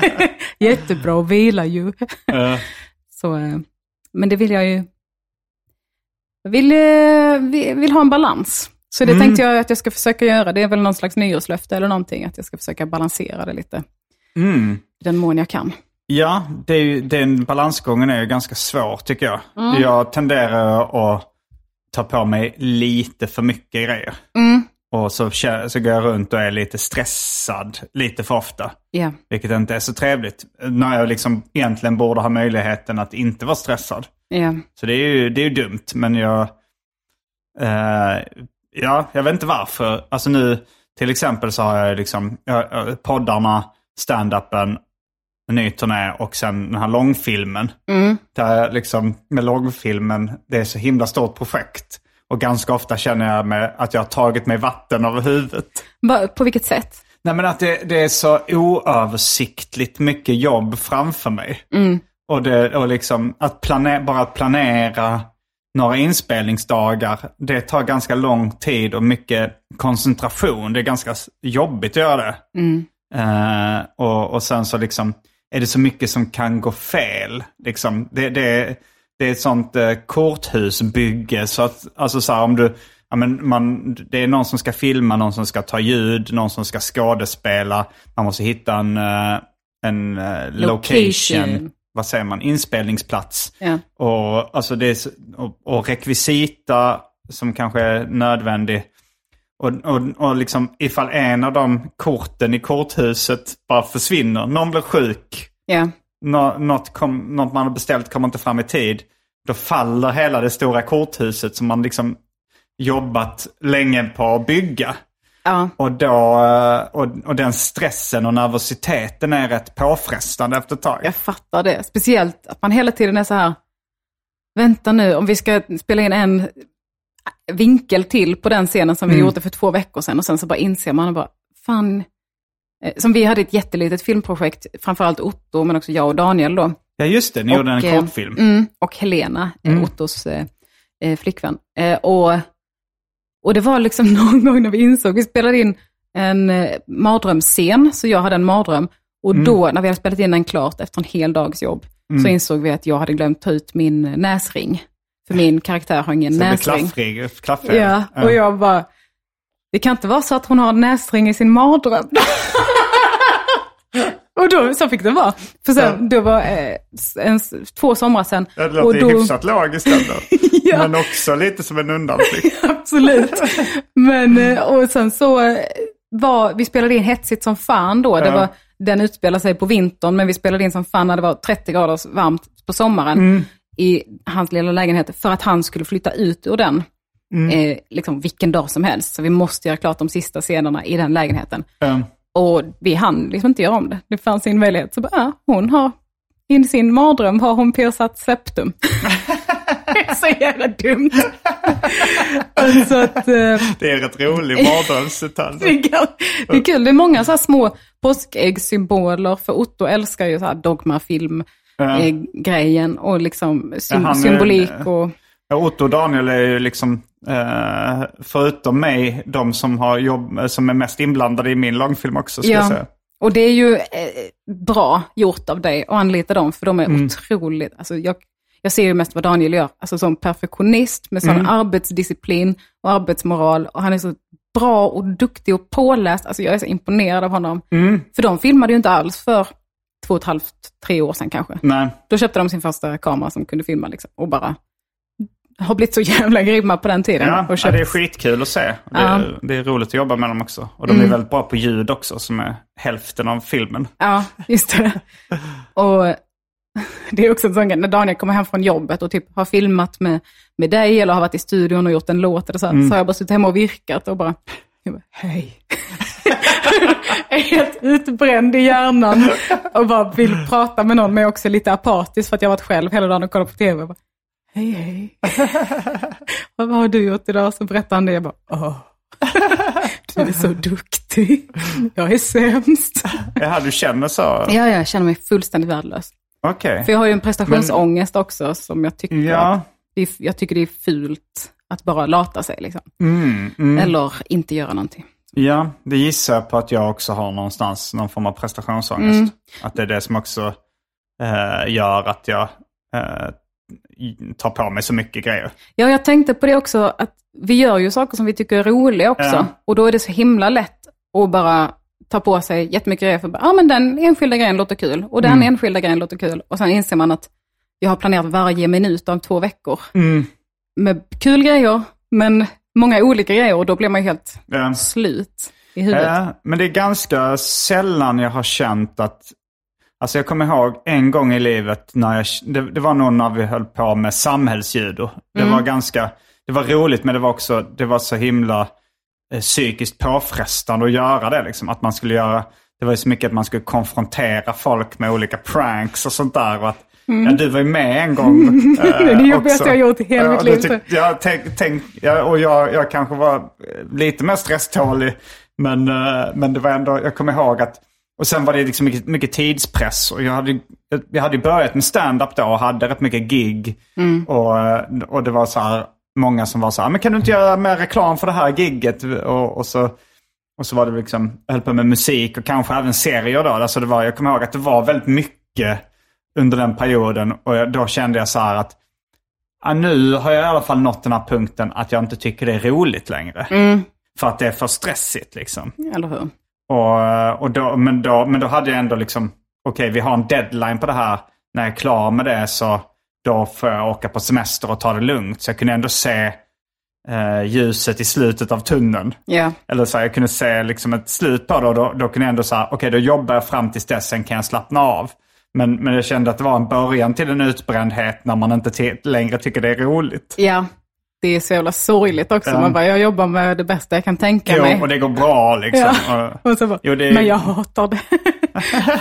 Speaker 3: Jättebra att vila ju.
Speaker 2: Eh,
Speaker 3: Så, eh, men det vill jag ju... Jag vill, eh, vi- vill ha en balans. Så det tänkte jag att jag ska försöka göra. Det är väl någon slags nyårslöfte eller någonting, att jag ska försöka balansera det lite.
Speaker 2: mm.
Speaker 3: I den mån jag kan.
Speaker 2: Ja, det är ju, den balansgången är ju ganska svår tycker jag. Jag tenderar att ta på mig lite för mycket grejer. Och så, kä- så går jag runt och är lite stressad lite för ofta.
Speaker 3: Ja,
Speaker 2: Vilket inte är så trevligt. När jag liksom egentligen borde ha möjligheten att inte vara stressad.
Speaker 3: ja.
Speaker 2: Så det är ju, det är ju dumt, men jag... Eh, ja, jag vet inte varför. Alltså nu, till exempel så har jag ju liksom jag, jag- poddarna, stand-upen, en ny turné och sen den här långfilmen. Där jag liksom, med långfilmen, det är ett så himla stort projekt. Och ganska ofta känner jag mig, att jag har tagit mig vatten över huvudet.
Speaker 3: Va- På vilket sätt?
Speaker 2: Nej men att det, det är så oöversiktligt mycket jobb framför mig. Och, det, och liksom att plane, bara att planera några inspelningsdagar, det tar ganska lång tid och mycket koncentration. Det är ganska s- jobbigt att göra det. Eh, och, och sen så liksom är det så mycket som kan gå fel. Liksom, det, det, det är ett sånt eh, korthusbygge. Så att, alltså så här, om du, ja, men man, det är någon som ska filma, någon som ska ta ljud, någon som ska skådespela. Man måste hitta en, eh, en eh, location.
Speaker 3: Location.
Speaker 2: Vad säger man? Inspelningsplats.
Speaker 3: Ja.
Speaker 2: Och, alltså det är, s- och, och rekvisita som kanske är nödvändig. Och, och, och liksom ifall en av de korten i korthuset bara försvinner, någon blir sjuk,
Speaker 3: Ja,
Speaker 2: nå, något, kom, något man har beställt kommer inte fram i tid, då faller hela det stora korthuset som man liksom jobbat länge på att bygga.
Speaker 3: ja.
Speaker 2: Och, då, eh, och, och den stressen och nervositeten är rätt påfrestande efter ett tag.
Speaker 3: jag fattar det. Speciellt att man hela tiden är så här, vänta nu, om vi ska spela in en vinkel till på den scenen som vi gjorde för två veckor sedan och sen så bara inser man och bara, fan. Eh, Som vi hade ett jättelitet filmprojekt, framförallt Otto, men också jag och Daniel då.
Speaker 2: Ja just det, ni gjorde en
Speaker 3: eh,
Speaker 2: kortfilm.
Speaker 3: Mm, och Helena, mm. Ottos eh, eh, flickvän. Eh, och, och det var liksom någon gång när vi insåg, vi spelade in en eh, mardrömsscen, så jag hade en mardröm. Och då, när vi hade spelat in den klart efter en hel dags jobb, så insåg vi att jag hade glömt ta ut min eh, näsring. För min karaktär har ingen
Speaker 2: Så det blir
Speaker 3: näsring.
Speaker 2: klaffrig, klaffig.
Speaker 3: Ja, och jag bara, det kan inte vara så att hon har en näsring i sin mardröm. och då, så fick det vara. För sen, det var eh, s- en, s- två somrar sen.
Speaker 2: Det
Speaker 3: och
Speaker 2: låter
Speaker 3: då,
Speaker 2: ju hyfsat logiskt ändå. Men också lite som en undanflykt.
Speaker 3: Absolut. Men, eh, och sen så eh, var, vi spelade in hetsigt som fan då. Det
Speaker 2: Ja.
Speaker 3: var, den utspelar sig på vintern, men vi spelade in som fan när det var 30 grader varmt på sommaren i hans lilla lägenhet, för att han skulle flytta ut ur den. Eh, liksom vilken dag som helst. Så vi måste göra klart de sista scenerna i den lägenheten.
Speaker 2: Mm.
Speaker 3: Och vi hann liksom inte göra om det. Det fanns ingen möjlighet. Så bara, ja, hon har, i sin mardröm har hon piercat septum. det är så jävla dumt. så att, eh,
Speaker 2: Det är rätt rolig mardrömsdetalj.
Speaker 3: det, är kul. det är kul. Det är många så här små påskäggssymboler, för Otto älskar ju så här dogmafilm. eh, grejen och liksom sym-
Speaker 2: Ja, han är-
Speaker 3: symbolik och...
Speaker 2: Ja, Otto och Daniel är ju liksom, eh, förutom mig, de som, har jobb, som är mest inblandade i min långfilm också. Ska jag säga.
Speaker 3: Och det är ju eh, bra gjort av dig att anlita dem, för de är otroligt... Alltså jag, jag ser ju mest vad Daniel gör, alltså som perfektionist med sån arbetsdisciplin och arbetsmoral. Och han är så bra och duktig och påläst. Alltså jag är så imponerad av honom. För de filmade ju inte alls för två och ett halvt, tre år sedan kanske.
Speaker 2: Nej.
Speaker 3: Då köpte de sin första kamera som kunde filma liksom, och bara har blivit så jävla grymma på den tiden.
Speaker 2: Ja,
Speaker 3: Mm, och
Speaker 2: ja,
Speaker 3: köpt-
Speaker 2: det är skitkul att se. Det,
Speaker 3: Ja. Mm.
Speaker 2: det är roligt att jobba med dem också. Och de är väldigt bra på ljud också, som är hälften av filmen.
Speaker 3: Ja, just det. Och det är också en sån grej, när Daniel kommer hem från jobbet och typ har filmat med, med dig eller har varit i studion och gjort en låt eller så, här, så har jag bara suttit hemma och virkat och bara, jag bara hej. är helt utbränd i hjärnan och bara vill prata med någon, men jag är också lite apatisk för att jag har varit själv hela dagen och kollat på tv. Jag bara, hej, hej. Vad har du gjort idag? Så berättar han det. Jag bara, åh. Du är så duktig. Jag är sämst.
Speaker 2: Jaha, du känner så?
Speaker 3: Ja, jag känner mig fullständigt värdelös.
Speaker 2: Okej.
Speaker 3: För jag har ju en prestationsångest också som jag tycker,
Speaker 2: Ja.
Speaker 3: det är, jag tycker det är fult att bara lata sig. Liksom.
Speaker 2: Mm, mm.
Speaker 3: Eller inte göra någonting.
Speaker 2: Ja, det gissar jag på att jag också har någonstans, någon form av prestationsångest. Att det är det som också eh, gör att jag eh, tar på mig så mycket grejer.
Speaker 3: Ja, jag tänkte på det också, att vi gör ju saker som vi tycker är roliga också.
Speaker 2: Ja.
Speaker 3: Och då är det så himla lätt att bara ta på sig jättemycket grejer för att bara, ah, men den enskilda grejen låter kul och den
Speaker 2: Mm.
Speaker 3: enskilda grejen låter kul. Och sen inser man att jag har planerat varje minut av två veckor
Speaker 2: Mm.
Speaker 3: med kul grejer, men många olika grejer och då blir man ju helt
Speaker 2: Ja.
Speaker 3: slut i huvudet.
Speaker 2: Eh, men det är ganska sällan jag har känt att... Alltså jag kommer ihåg en gång i livet när jag... Det, det var nog när vi höll på med samhällsjudo. Det
Speaker 3: Mm.
Speaker 2: var ganska... Det var roligt men det var också... Det var så himla eh, psykiskt påfrestande att göra det. Liksom. Att man skulle göra... Det var ju så mycket att man skulle konfrontera folk med olika pranks och sånt där. Och att, Ja, du var ju med en gång. eh,
Speaker 3: Mm. Det är det jobbigaste
Speaker 2: också.
Speaker 3: jag har gjort i hela
Speaker 2: Ja,
Speaker 3: mitt
Speaker 2: och du
Speaker 3: liv.
Speaker 2: tyck- jag tänk, tänk, jag, och jag, jag kanske var eh, lite mer stresstålig. Men, eh, men det var ändå, jag kommer ihåg att... Och sen var det liksom mycket, mycket tidspress. Och jag hade, ju- jag- jag hade ju börjat med stand-up då och hade rätt mycket gig. Och, eh, och det var så här, många som var så här, men kan du inte göra mer reklam för det här gigget? Och, och så... Och så var det liksom, jag höll på med musik och kanske även serier då. Alltså det var, jag kommer ihåg att det var väldigt mycket under den perioden. Och jag, då kände jag så här att ja, nu har jag i alla fall nått den här punkten att jag inte tycker det är roligt längre. För att det är för stressigt liksom.
Speaker 3: Eller hur?
Speaker 2: Och, och då, men, då, men då hade jag ändå liksom, okej vi har en deadline på det här. När jag är klar med det så då får jag åka på semester och ta det lugnt. Så jag kunde ändå se eh, ljuset i slutet av tunneln.
Speaker 3: Ja.
Speaker 2: Eller så här, jag kunde se liksom ett slut på det och då, då kunde jag ändå säga, okej då jobbar jag fram tills dess, sen kan jag slappna av. Men, men jag kände att det var en början till en utbrändhet när man inte till, längre tycker det är roligt.
Speaker 3: ja, det är så jävla sorgligt också.
Speaker 2: Ja.
Speaker 3: Man bara, jag jobbar med det bästa jag kan tänka
Speaker 2: Jo,
Speaker 3: mig.
Speaker 2: och det går bra liksom.
Speaker 3: ja.
Speaker 2: Och-
Speaker 3: och så bara,
Speaker 2: Jo, det är-
Speaker 3: men jag hatar det.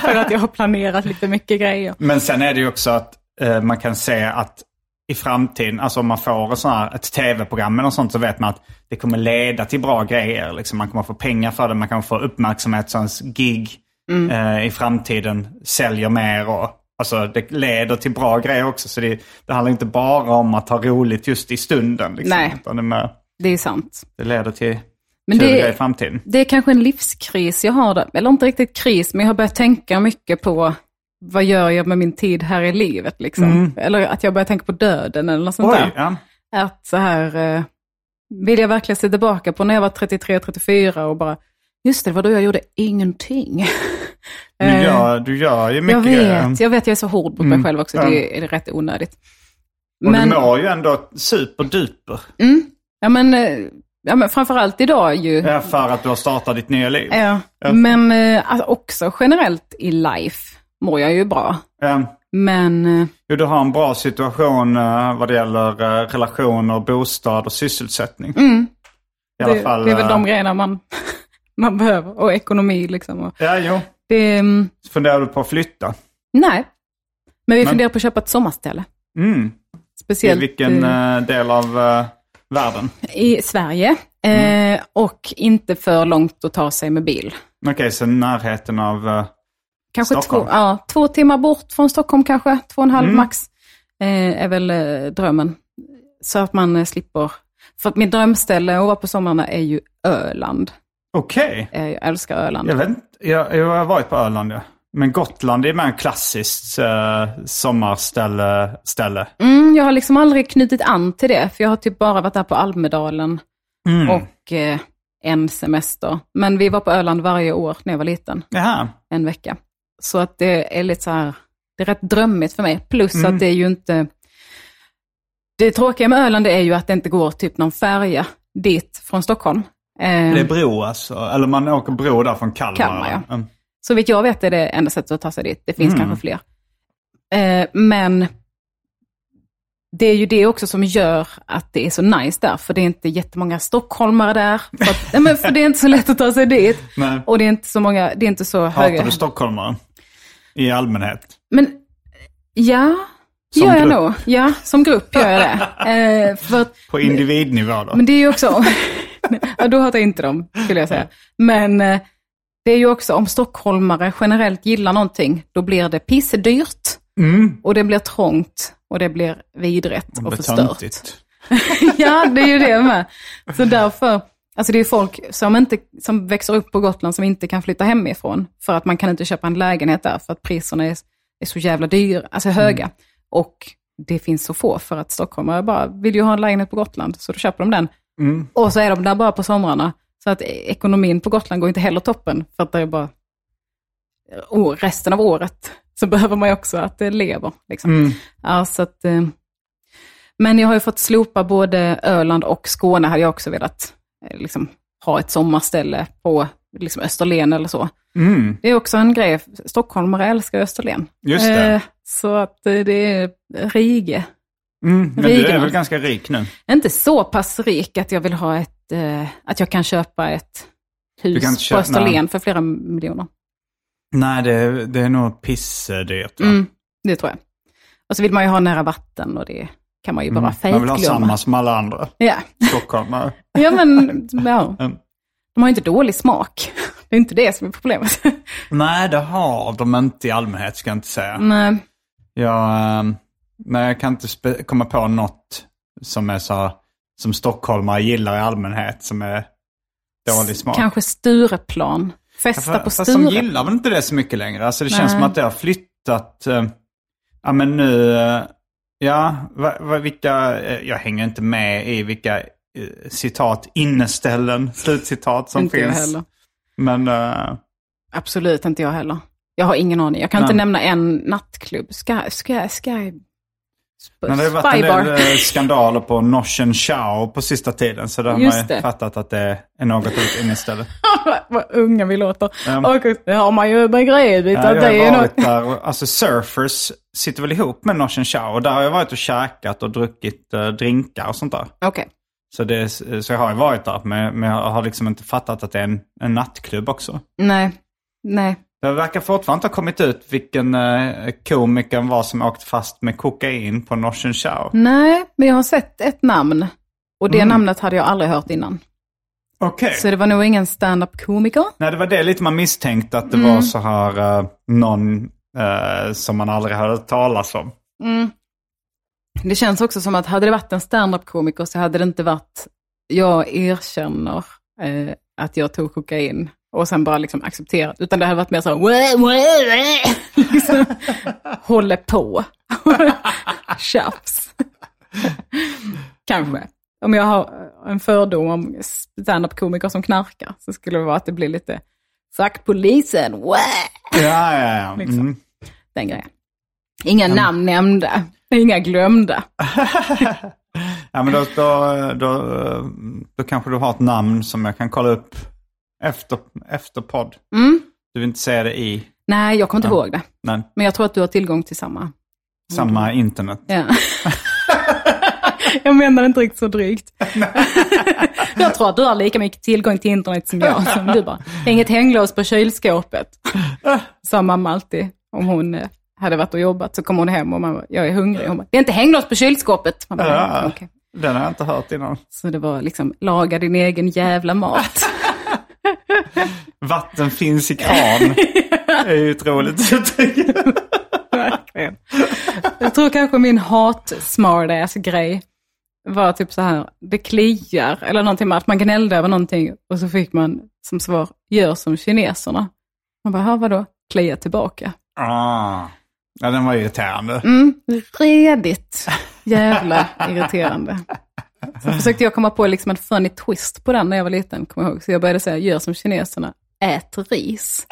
Speaker 3: För att jag har planerat lite mycket grejer.
Speaker 2: Men sen är det ju också att eh, man kan se att i framtiden, alltså om man får en sån här, ett tv-program eller något sånt så vet man att det kommer leda till bra grejer. Liksom. Man kommer få pengar för det, man kommer få uppmärksamhet så ens gig
Speaker 3: Mm.
Speaker 2: eh, i framtiden säljer mer. Och, alltså det leder till bra grejer också. Så det, det handlar inte bara om att ha roligt just i stunden. Liksom,
Speaker 3: Nej.
Speaker 2: Utan det, är mer-
Speaker 3: Det är sant.
Speaker 2: det leder till
Speaker 3: Men
Speaker 2: kul
Speaker 3: det-
Speaker 2: grejer i framtiden.
Speaker 3: Det är kanske en livskris jag har, där. eller inte riktigt kris, men jag har börjat tänka mycket på vad gör jag med min tid här i livet? Liksom. Eller att jag börjar tänka på döden eller något sånt där.
Speaker 2: Mm. Oj, ja.
Speaker 3: att så här, eh, vill jag verkligen se tillbaka på när jag var 33-34 och bara, just det, det var då jag gjorde ingenting.
Speaker 2: Du,
Speaker 3: Eh,
Speaker 2: gör, du gör ju mycket
Speaker 3: jag
Speaker 2: grejer.
Speaker 3: vet, jag vet, jag är så hård mot mig själv också,
Speaker 2: ja.
Speaker 3: det är, är rätt onödigt.
Speaker 2: Och
Speaker 3: Men,
Speaker 2: du mår ju ändå superduper.
Speaker 3: mm, ja, men, eh, ja, men framförallt idag ju.
Speaker 2: Ja, Eh, för att du har startat ditt nya liv.
Speaker 3: Ja. Men eh, alltså också generellt i life mår jag ju bra.
Speaker 2: Eh,
Speaker 3: Men eh,
Speaker 2: Jo, du har en bra situation eh, vad det gäller eh, relationer, bostad och sysselsättning. I alla
Speaker 3: Mm. det,
Speaker 2: fall.
Speaker 3: det är väl de
Speaker 2: eh,
Speaker 3: grejerna man, man behöver, och ekonomi liksom. Och
Speaker 2: Ja, jo.
Speaker 3: det, mm,
Speaker 2: Så funderar du på att flytta?
Speaker 3: nej, men vi
Speaker 2: Men-
Speaker 3: funderar på att köpa ett sommarställe.
Speaker 2: Mm. I
Speaker 3: Speciellt
Speaker 2: vilken
Speaker 3: eh,
Speaker 2: eh, del av eh, världen?
Speaker 3: i Sverige.
Speaker 2: Mm.
Speaker 3: Eh, och inte för långt att ta sig med bil.
Speaker 2: Okej, så närheten av... eh,
Speaker 3: Kanske två,
Speaker 2: Stockholm. Mm.
Speaker 3: ja, två timmar bort från Stockholm kanske, två och en halv max. Eh, är väl eh, drömmen. Så att man eh, slipper. För att min drömställe att vara på sommarna är ju Öland.
Speaker 2: Okej.
Speaker 3: Eh, jag älskar Öland.
Speaker 2: Jag vet inte. jag, jag har varit på Öland, ja. Men Gotland är mer en klassiskt eh, sommarställe. Ställe.
Speaker 3: Mm, jag har liksom aldrig knutit an till det, för jag har typ bara varit där på Almedalen
Speaker 2: Mm.
Speaker 3: och eh, en semester. Men vi var på Öland varje år när jag var liten,
Speaker 2: Jaha.
Speaker 3: en vecka. Så att det är lite så här, det är rätt drömmigt för mig. Plus
Speaker 2: Mm.
Speaker 3: att det är ju inte, det tråkiga med Öland är ju att det inte går typ någon färja dit från Stockholm. Ehm,
Speaker 2: Det är bro alltså. Eller man åker bro där från Kalmar.
Speaker 3: Kalmar, ja.
Speaker 2: Mm.
Speaker 3: Så vitt jag vet är det enda sättet att ta sig dit. Det finns kanske fler. Eh, men det är ju det också som gör att det är så nice där, för det är inte jättemånga stockholmare där. För, att, nej, men för det är inte så lätt att ta sig dit.
Speaker 2: Nej.
Speaker 3: Och det är inte så många, det är inte så
Speaker 2: Hatar
Speaker 3: höga...
Speaker 2: du stockholmare? I allmänhet?
Speaker 3: Men ja,
Speaker 2: Som
Speaker 3: gör jag
Speaker 2: grupp.
Speaker 3: nog. Ja, som grupp gör jag det. Eh, för att
Speaker 2: På individnivå då?
Speaker 3: Men det är ju också... ja, då hatar jag inte dem, skulle jag säga. Men eh, det är ju också om stockholmare generellt gillar någonting, då blir det pissdyrt.
Speaker 2: Mm.
Speaker 3: Och det blir trångt och det blir vidrätt och
Speaker 2: Det är
Speaker 3: förstört.
Speaker 2: töntigt.
Speaker 3: ja, det är ju det med. Så därför, alltså det är ju folk som, inte, som växer upp på Gotland som inte kan flytta hemifrån. För att man kan inte köpa en lägenhet där, för att priserna är, är så jävla dyra, alltså höga. Och det finns så få, för att stockholmare bara vill ju ha en lägenhet på Gotland, så då köper de den. Och så är de där bara på somrarna. Så att ekonomin på Gotland går inte heller toppen, för att det är bara och resten av året så behöver man ju också att det lever. Liksom. Ja, så att, eh, men jag har ju fått slopa både Öland och Skåne, hade jag också velat eh, liksom, ha ett sommarställe på liksom, Österlen eller så.
Speaker 2: Mm.
Speaker 3: Det är också en grej, stockholmare älskar Österlen.
Speaker 2: Just det.
Speaker 3: Eh, Så att eh, det är Rige.
Speaker 2: Mm. Men du är
Speaker 3: Rigen.
Speaker 2: väl ganska rik nu?
Speaker 3: Inte så pass rik att jag vill ha ett, eh, att jag kan köpa ett hus
Speaker 2: kan inte
Speaker 3: på
Speaker 2: köpa-
Speaker 3: Österlen för flera miljoner.
Speaker 2: Nej, det, är- det är nog pissdyrt. va?
Speaker 3: Mm, det tror jag. Och så vill man ju ha nära vatten och det kan man ju bara
Speaker 2: Mm. Man vill ha
Speaker 3: fejkglömma.
Speaker 2: samma som alla andra
Speaker 3: Ja.
Speaker 2: stockholmare.
Speaker 3: ja, men ja.
Speaker 2: Mm.
Speaker 3: de har ju inte dålig smak. Det är inte det som är problemet.
Speaker 2: Nej, det har de inte i allmänhet, ska jag inte säga.
Speaker 3: Nej.
Speaker 2: Jag, ehm, nej, jag kan inte spe- komma på något som är så som stockholmare gillar i allmänhet som är dålig smak.
Speaker 3: Kanske Stureplan. Festa på
Speaker 2: Fast de
Speaker 3: Sture.
Speaker 2: gillar väl inte det så mycket längre. Alltså det
Speaker 3: Nej.
Speaker 2: känns som att det har flyttat. eh, ja men nu, eh, ja, va, va, vilka, eh, jag hänger inte med i vilka eh, citat inneställen, slutcitat som
Speaker 3: Inte jag
Speaker 2: finns.
Speaker 3: heller.
Speaker 2: Men eh,
Speaker 3: Absolut inte jag heller. Jag har ingen aning. Jag kan inte
Speaker 2: Nej.
Speaker 3: nämna en nattklubb. Sky, sky, sky. Sp-
Speaker 2: Men det har ju varit en
Speaker 3: Spybar.
Speaker 2: del eh, skandaler på Norsen Chow på sista tiden. Så då har
Speaker 3: Just
Speaker 2: man ju
Speaker 3: det.
Speaker 2: fattat att det är något ut inställe.
Speaker 3: Vad unga vi låter.
Speaker 2: Mm.
Speaker 3: Och det har man ju begripit
Speaker 2: Ja,
Speaker 3: att
Speaker 2: jag har
Speaker 3: det är något.
Speaker 2: varit där, och, alltså surfers sitter väl ihop med Norsen Chow. Och där har jag varit och käkat och druckit eh, drinkar och sånt där.
Speaker 3: Okej.
Speaker 2: Så, det, är- så jag har ju varit där, men, men jag har liksom inte fattat att det är en, en nattklubb också.
Speaker 3: Nej. Nej.
Speaker 2: Det verkar fortfarande inte ha kommit ut vilken eh, komikern var som åkt fast med kokain på Norsen Chow.
Speaker 3: Mm. Nej, men jag har sett ett namn. Och
Speaker 2: Mm.
Speaker 3: det namnet hade jag aldrig hört innan.
Speaker 2: Okej.
Speaker 3: Så det var nog ingen stand-up komiker.
Speaker 2: Nej, det var det lite man misstänkte att det var så här eh, någon eh, som man aldrig hade hört talas om.
Speaker 3: Det känns också som att hade det varit en stand-up komiker så hade det inte varit, jag erkänner eh, att jag tog kokain och sen bara liksom accepterat. Utan det hade varit mer så här, "Wah, wah, wah." liksom, håller på. Tjafs. Kanske. Om jag har en fördom om stand-up komiker som knarkar så skulle det vara att det blir lite, fuck polisen, Wah."
Speaker 2: Ja, ja, ja. Mm.
Speaker 3: den grejen. Inga namn nämnda, inga glömda.
Speaker 2: ja men då, då, då, eh, då kanske du har ett namn som jag kan kolla upp efter, efter podd. Du vill inte säga det i
Speaker 3: Nej, jag kommer inte ihåg det.
Speaker 2: nej,
Speaker 3: Men jag tror att du har tillgång till samma.
Speaker 2: samma internet.
Speaker 3: Ja. jag menar inte riktigt så drygt. jag tror att du har lika mycket tillgång till internet som jag. Som du bara. Det är inget hänglås på kylskåpet. Sa mamma alltid. Om hon eh, hade varit och jobbat så kom hon hem och man bara, jag är hungrig. Hon bara, det är inte hänglås på kylskåpet. Man bara,
Speaker 2: Ja.
Speaker 3: "Okej."
Speaker 2: Den har jag inte hört innan.
Speaker 3: Så det var liksom, laga din egen jävla mat.
Speaker 2: Vatten finns i kran. Det är ju ett roligt uttryck.
Speaker 3: Verkligen. Jag tror kanske min hat-smartass-grej var typ så här, det kliar eller någonting, med att man gnällde över någonting och så fick man som svar, gör som kineserna. Man bara, "Ha, vadå? Klia tillbaka.
Speaker 2: Ah. Ja, den var irriterande.
Speaker 3: Mm, redigt jävla irriterande. Så försökte jag komma på liksom en funny twist på den när jag var liten, kommer jag ihåg. Så jag började säga, gör som kineserna, ät ris.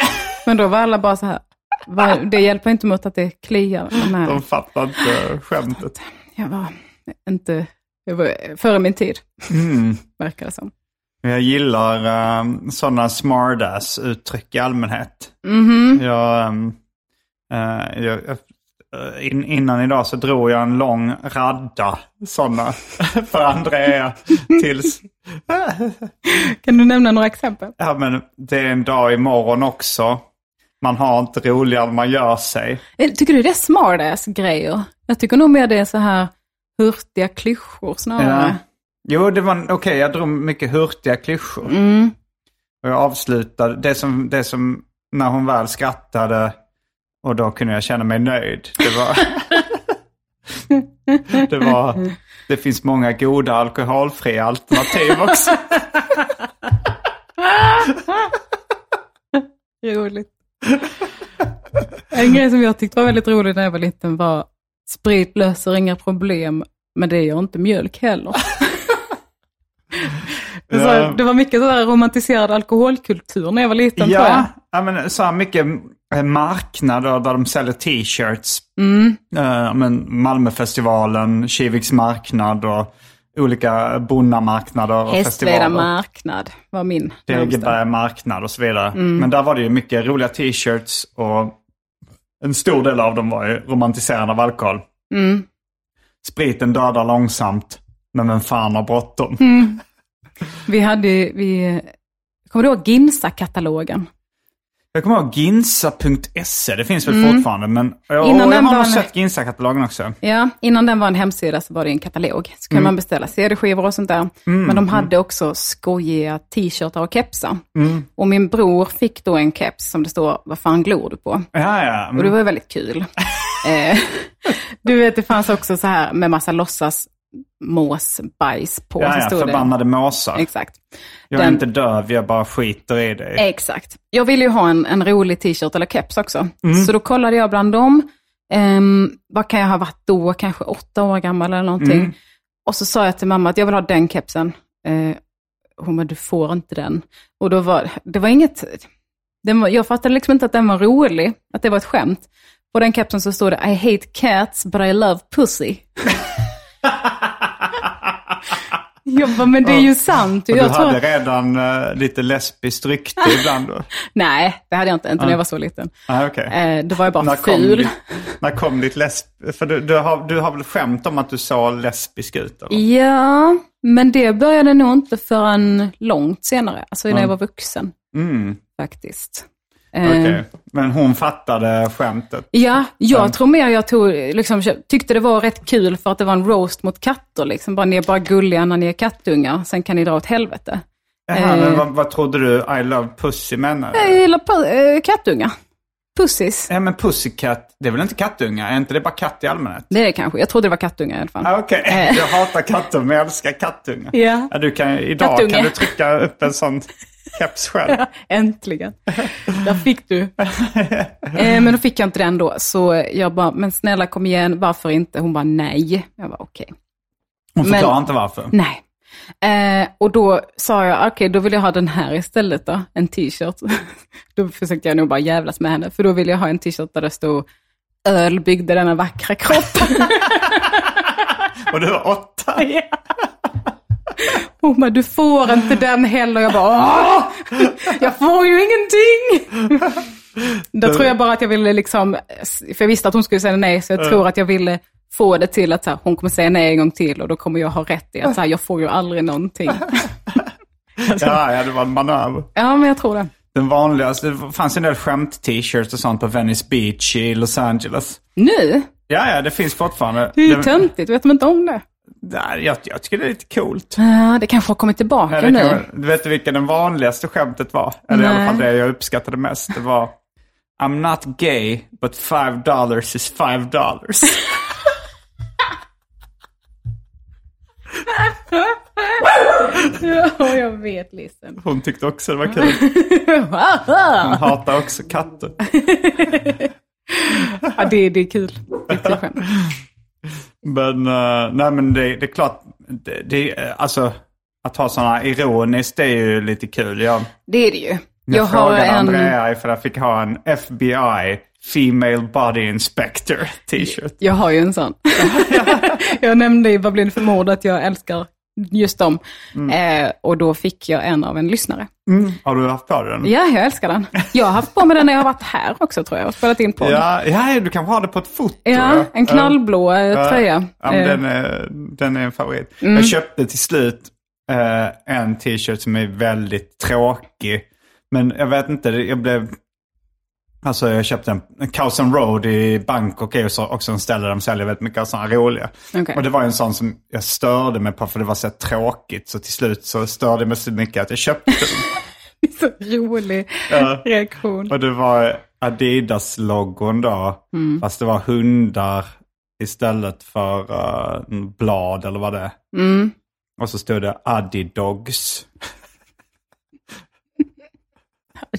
Speaker 3: Men då var alla bara så här, Va- Det hjälper inte mot att det kliar. De här.
Speaker 2: De fattar inte skämtet.
Speaker 3: Jag var inte... Jag var före min tid,
Speaker 2: Mm.
Speaker 3: verkar det som.
Speaker 2: Jag gillar um, sådana smartass-uttryck i allmänhet.
Speaker 3: Mhm.
Speaker 2: Jag, ehm, eh, jag, jag, eh, in, innan idag så drog jag en lång radda sådana för Andrea. Tills, eh,
Speaker 3: Kan du nämna några exempel?
Speaker 2: ja men det är en dag imorgon också. Man har inte roligare än man gör sig.
Speaker 3: Eh, Tycker du det är smartass-grejer? Jag tycker nog mer det är så här hurtiga klyschor snarare.
Speaker 2: Ja. Jo, det var, okej, jag drog mycket hurtiga klyschor.
Speaker 3: Mm.
Speaker 2: Och jag avslutade, det som, det som, när hon väl skrattade och då kunde jag känna mig nöjd. Det var, det var, det finns många goda alkoholfria alternativ också.
Speaker 3: Roligt. En grej som jag tyckte var väldigt rolig när jag var liten var sprit löser inga problem, men det gör inte mjölk heller. Det var så-
Speaker 2: Ja.
Speaker 3: Det var mycket så här romantiserad alkoholkultur när jag var liten tror
Speaker 2: Ja,
Speaker 3: jag.
Speaker 2: ja men så här mycket eh, marknader där de säljer t-shirts.
Speaker 3: Mm.
Speaker 2: Eh, men Malmöfestivalen, Kiviks marknad och olika bonnamarknader och
Speaker 3: Hästveda
Speaker 2: festivaler.
Speaker 3: marknad var min. närmsta. Mm.
Speaker 2: Degeberga marknad och så vidare. Men där var det ju mycket roliga t-shirts och en stor del av dem var ju romantiserande av alkohol.
Speaker 3: Mm.
Speaker 2: Spriten dödar långsamt, men vem fan har bråttom?
Speaker 3: Mm. Vi hade, ju- vi, kommer du ihåg Ginsa-katalogen?
Speaker 2: Jag kommer ihåg Ginsa.se, E, det finns väl fortfarande, men jag,
Speaker 3: Mm. Innan
Speaker 2: och jag
Speaker 3: den
Speaker 2: har nog
Speaker 3: var-
Speaker 2: sett Ginsa-katalogen också.
Speaker 3: Ja, innan den var en hemsida så var det en katalog. Så kunde
Speaker 2: Mm.
Speaker 3: man beställa CD-skivor och sånt där. Men de hade också skojiga t-shirtar och kepsar.
Speaker 2: Mm.
Speaker 3: Och min bror fick då en keps som det står, vad fan glor du på?
Speaker 2: Ja, ja. mm.
Speaker 3: Och det var ju väldigt kul. Eh, du vet, det fanns också så här med massa låtsas måsbajs på.
Speaker 2: ja,
Speaker 3: så
Speaker 2: ja
Speaker 3: stod det.
Speaker 2: förbannade måsar.
Speaker 3: Exakt.
Speaker 2: jag är
Speaker 3: den- Eh,
Speaker 2: inte döv, jag bara skiter i dig.
Speaker 3: Exakt. Jag ville ju ha en, en rolig t-shirt eller keps också.
Speaker 2: Mm.
Speaker 3: Så då kollade jag bland dem. Ehm, vad kan jag ha varit då? Kanske åtta år gammal eller någonting.
Speaker 2: Mm.
Speaker 3: Och så sa jag till mamma att jag vill ha den kepsen. Eh, hon bara, du får inte den. Och då var det var inget... Den var, jag fattade liksom inte att den var rolig, att det var ett skämt. På den kepsen så stod det I hate cats but I love pussy. jag bara, men det är ju sant.
Speaker 2: Och du
Speaker 3: jag tror-
Speaker 2: hade redan eh, lite lesbiskt rykte ibland. då.
Speaker 3: Nej, det hade jag inte, inte när jag var så liten.
Speaker 2: Ah, okay.
Speaker 3: Eh, då var jag bara
Speaker 2: När kom,
Speaker 3: ful.
Speaker 2: ditt, när kom ditt lesb... För du, du, har, du har väl skämt om att du såg lesbisk ut? Eller?
Speaker 3: Ja, men det började nog inte förrän långt senare, alltså när jag var vuxen
Speaker 2: Mm,
Speaker 3: faktiskt.
Speaker 2: okej.
Speaker 3: Eh,
Speaker 2: Men hon fattade skämtet.
Speaker 3: Ja, jag tror mer jag tog, liksom, tyckte det var rätt kul för att det var en roast mot katter. Liksom. Bara, ni är bara gulliga när ni är kattungar, sen kan ni dra åt helvete.
Speaker 2: Jaha, men
Speaker 3: Eh.
Speaker 2: vad, vad trodde du I love pussy menade?
Speaker 3: Jag gillar pu- eh, kattungar. Pussis.
Speaker 2: Ja, men pussycat, det är väl inte kattunga? Är inte det bara katt i allmänhet?
Speaker 3: Det är det kanske. Jag trodde det var kattungar i alla fall.
Speaker 2: Ah, Okej, jag hatar katter men jag älskar kattunga.
Speaker 3: Eh. Ja.
Speaker 2: du kan, idag
Speaker 3: Kattunge.
Speaker 2: kan du trycka upp en sån keps själv.
Speaker 3: Äntligen. Där fick du. eh, men då fick jag inte den då. Så jag bara, men snälla kom igen, varför inte? Hon bara nej. Jag var okej.
Speaker 2: Hon
Speaker 3: Men-
Speaker 2: förklarar inte varför.
Speaker 3: Nej. Eh, och då sa jag, okej, då vill jag ha den här istället då, en t-shirt. då försökte jag nog bara jävlas med henne, för då ville jag ha en t-shirt där det stod Öl byggde denna vackra kropp.
Speaker 2: Och du var åtta.
Speaker 3: Hon bara, Oh du får inte den heller. Jag bara, Åh! jag får ju ingenting. Då tror jag bara att jag ville liksom, för jag visste att hon skulle säga nej, så jag tror att jag ville få det till att så här, hon kommer säga nej en gång till och då kommer jag ha rätt i att så här, jag får ju aldrig någonting.
Speaker 2: Ja, ja, det var en manöver.
Speaker 3: Ja, men jag tror det.
Speaker 2: Den vanligaste, det fanns en del skämt-t-shirts och sånt på Venice Beach i Los Angeles.
Speaker 3: Nu?
Speaker 2: Ja, ja, det finns fortfarande.
Speaker 3: Det är ju töntigt, vet de inte om det?
Speaker 2: Nej, jag, jag tycker det är lite coolt.
Speaker 3: Ja, det kanske har kommit
Speaker 2: Nej,
Speaker 3: tillbaka
Speaker 2: det
Speaker 3: nu.
Speaker 2: kan, du vet vilken den vanligaste skämtet var? Eller i alla
Speaker 3: Nej.
Speaker 2: fall det jag uppskattade mest. Det var I'm not gay, but five dollars is five dollars.
Speaker 3: Ja, jag vet Lisen.
Speaker 2: Hon tyckte också det var kul. Hon hatar också katter.
Speaker 3: Ja, det, det är kul. Det är ett kul skämt.
Speaker 2: Men, eh, nej men det, det är klart, det, det, är, eh, alltså att ha sådana ironiskt det är ju lite kul. Jag,
Speaker 3: Det är det ju.
Speaker 2: Jag,
Speaker 3: Jag har
Speaker 2: frågade
Speaker 3: en-
Speaker 2: Andrea ifall jag fick ha en FBI Female Body Inspector t-shirt.
Speaker 3: Jag har ju en sån. jag nämnde i Vad blir det för mord att jag älskar just dem.
Speaker 2: Mm.
Speaker 3: Eh, och då fick jag en av en lyssnare.
Speaker 2: Har du haft på den?
Speaker 3: Ja, jag älskar den. Jag har haft på mig den när jag har varit här också tror jag och spelat in på den.
Speaker 2: Ja, ja, du kanske har det på ett foto.
Speaker 3: Ja, en knallblå eh,
Speaker 2: Ja,
Speaker 3: tröja.
Speaker 2: Ja, men
Speaker 3: Eh, Mm.
Speaker 2: den, är, den är en favorit. Jag köpte till slut eh, en t-shirt som är väldigt tråkig. Men jag vet inte, det- jag blev... Alltså jag köpte en, en Cows and Road i Bangkok, är ju så- också en ställe där de säljer väldigt mycket av sådana roliga.
Speaker 3: Okej.
Speaker 2: Och det var en sån som jag störde mig på för det var så här tråkigt. Så till slut så störde jag mig så mycket att jag köpte den.
Speaker 3: Eh, Så rolig reaktion.
Speaker 2: Och det var Adidas-logon då,
Speaker 3: Mm.
Speaker 2: fast det var hundar istället för eh, en blad eller vad det är.
Speaker 3: Mm.
Speaker 2: Och så stod det Adidogs.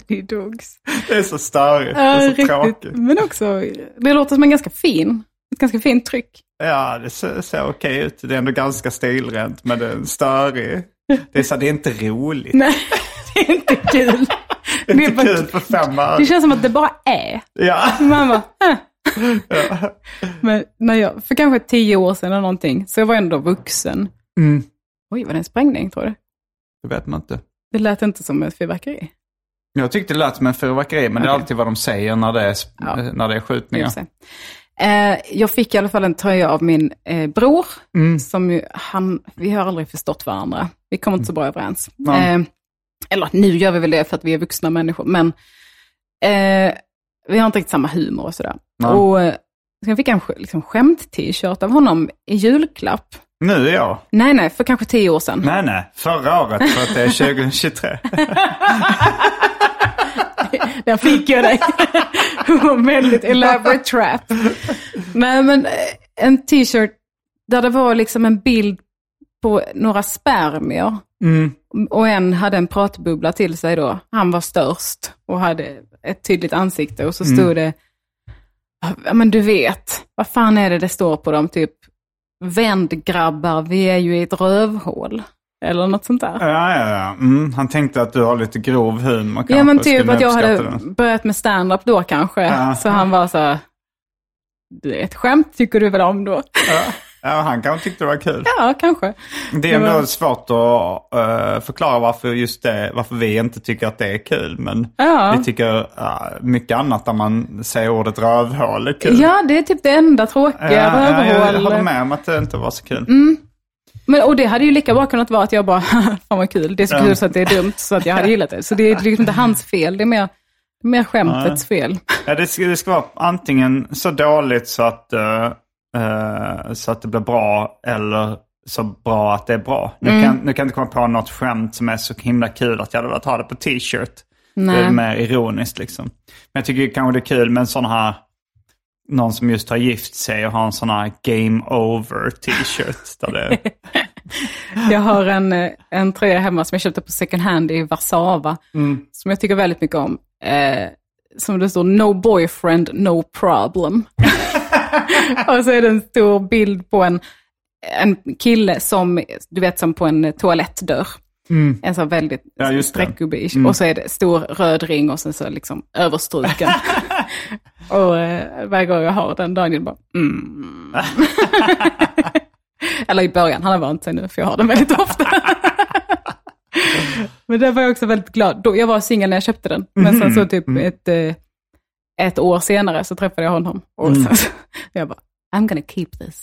Speaker 3: Det är dogs.
Speaker 2: Det är så störigt, det
Speaker 3: Ja,
Speaker 2: är så
Speaker 3: riktigt.
Speaker 2: tråkigt.
Speaker 3: Men också, det låter som en ganska fin, ett ganska fint tryck.
Speaker 2: Ja, det ser, ser okej ut. Det är ändå ganska stilrent, men det är en störig. Det är, så, det är inte roligt.
Speaker 3: Nej, det är inte kul.
Speaker 2: det är inte
Speaker 3: bara-
Speaker 2: kul för fem
Speaker 3: Det
Speaker 2: öre.
Speaker 3: känns som att det bara är.
Speaker 2: Ja.
Speaker 3: Man bara, äh. Men när jag, för kanske tio år sedan eller någonting, så jag var ändå vuxen.
Speaker 2: Mm.
Speaker 3: Oj, var det en sprängning tror du?
Speaker 2: Det vet man inte.
Speaker 3: Det lät inte som ett fyrverkeri.
Speaker 2: Jag tyckte det lät som en fyrverkeri, men det är alltid vad de säger när det är,
Speaker 3: Ja.
Speaker 2: när det är
Speaker 3: i
Speaker 2: skjutningar.
Speaker 3: och för sig. Eh, jag fick i alla fall en tröja av min eh, bror, som ju, han, vi har aldrig förstått varandra. Vi kommer inte så bra överens.
Speaker 2: Nej.
Speaker 3: Eh, eller nu gör vi väl det för att vi är vuxna människor, men eh, vi har inte riktigt samma humor och sådär.
Speaker 2: Nej.
Speaker 3: Och, eh, så jag fick en sk- liksom, skämt-t-shirt av honom i julklapp.
Speaker 2: Nu är jag.
Speaker 3: Nej, nej, för kanske tio år sedan.
Speaker 2: Nej, nej. Förra året för att det är 2023.
Speaker 3: Där fick jag dig. Väldigt elaborate trap. Nej, men eh, en t-shirt där det var liksom en bild på några spermier. Och en hade en pratbubbla till sig då. Han var störst och hade ett tydligt ansikte. Och så stod det, ja men du vet, vad fan är det det står på dem? Typ, vänd grabbar, vi är ju i ett rövhål. Eller något sånt där.
Speaker 2: Ja, ja, ja. Mm, han tänkte att du har lite grov humor kanske.
Speaker 3: Ja men typ
Speaker 2: Skulle
Speaker 3: att jag hade
Speaker 2: uppskatta det.
Speaker 3: börjat med stand-up då kanske.
Speaker 2: Ja.
Speaker 3: Så han var så här, "Det är ett skämt tycker du väl om då?
Speaker 2: Ja, han kanske tyckte det var kul.
Speaker 3: Ja, kanske.
Speaker 2: Det är ändå svårt att eh, förklara varför just det, varför vi inte tycker att det är kul. Men
Speaker 3: Ja.
Speaker 2: vi tycker eh, mycket annat när man säger ordet rövhål är kul.
Speaker 3: Ja, det är typ det enda tråkiga,
Speaker 2: ja, jag
Speaker 3: rövhål.
Speaker 2: håller med om att det inte var så kul.
Speaker 3: Men, och det hade ju lika bra kunnat vara att jag bara, fan vad kul, det är så kul så att det är dumt, så att jag hade gillat det. Så det är liksom inte hans fel, det är mer, mer skämtets fel.
Speaker 2: Ja, det, ska, det ska vara antingen så dåligt så att, eh, eh, så att det blir bra eller så bra att det är bra. Nu, kan, nu kan jag inte komma på något skämt som är så himla kul att jag hade velat ha det på t-shirt. Det är
Speaker 3: Nej.
Speaker 2: mer ironiskt liksom. Men jag tycker kanske det är kul med en sån här, någon som just har gift sig och har en sån här game over t-shirt. Där det,
Speaker 3: Jag har en, eh, en tröja hemma som jag köpte på second hand i Warszawa, som jag tycker väldigt mycket om. Eh, som det står No boyfriend, no problem. och så är det en stor bild på en, en kille som, du vet som på en toalettdörr. En sån väldigt
Speaker 2: Ja, just det.
Speaker 3: streckgubbig. Och så är det stor röd ring och sen så liksom överstruken. och eh, varje gång jag har den, Daniel bara mm. Eller i början, han har vant sig nu för jag har den väldigt ofta. men där var jag också väldigt glad. Då, jag var singel när jag köpte den, men sen så typ ett, eh, ett år senare så träffade jag honom. Och sen så, jag bara, I'm gonna keep this.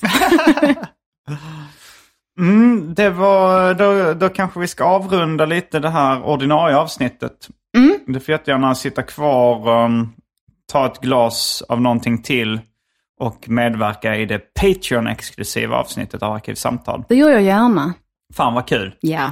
Speaker 2: mm, det var, då, då kanske vi ska avrunda lite det här ordinarie avsnittet. Du får jättegärna sitta kvar, um, ta ett glas av någonting till och medverka i det Patreon-exklusiva avsnittet av Arkivsamtal.
Speaker 3: Det gör jag gärna.
Speaker 2: Fan vad kul!
Speaker 3: Ja.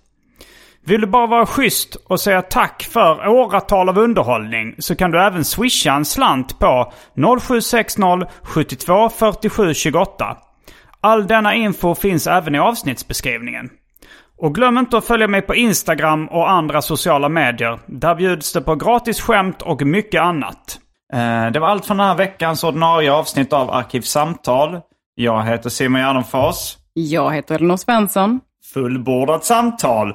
Speaker 4: Vill du bara vara schysst och säga tack för åratal av underhållning så kan du även swisha en slant på 0760 72 47 28. All denna info finns även i avsnittsbeskrivningen. Och glöm inte att följa mig på Instagram och andra sociala medier. Där bjuds det på gratis skämt och mycket annat.
Speaker 2: Eh, Det var allt från den här veckans ordinarie avsnitt av Arkivsamtal. Jag heter Simon Gärdenfors.
Speaker 3: Jag heter Elinor Svensson.
Speaker 2: Fullbordat samtal!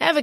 Speaker 5: Ever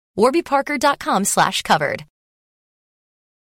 Speaker 6: warbyparker.com slash covered.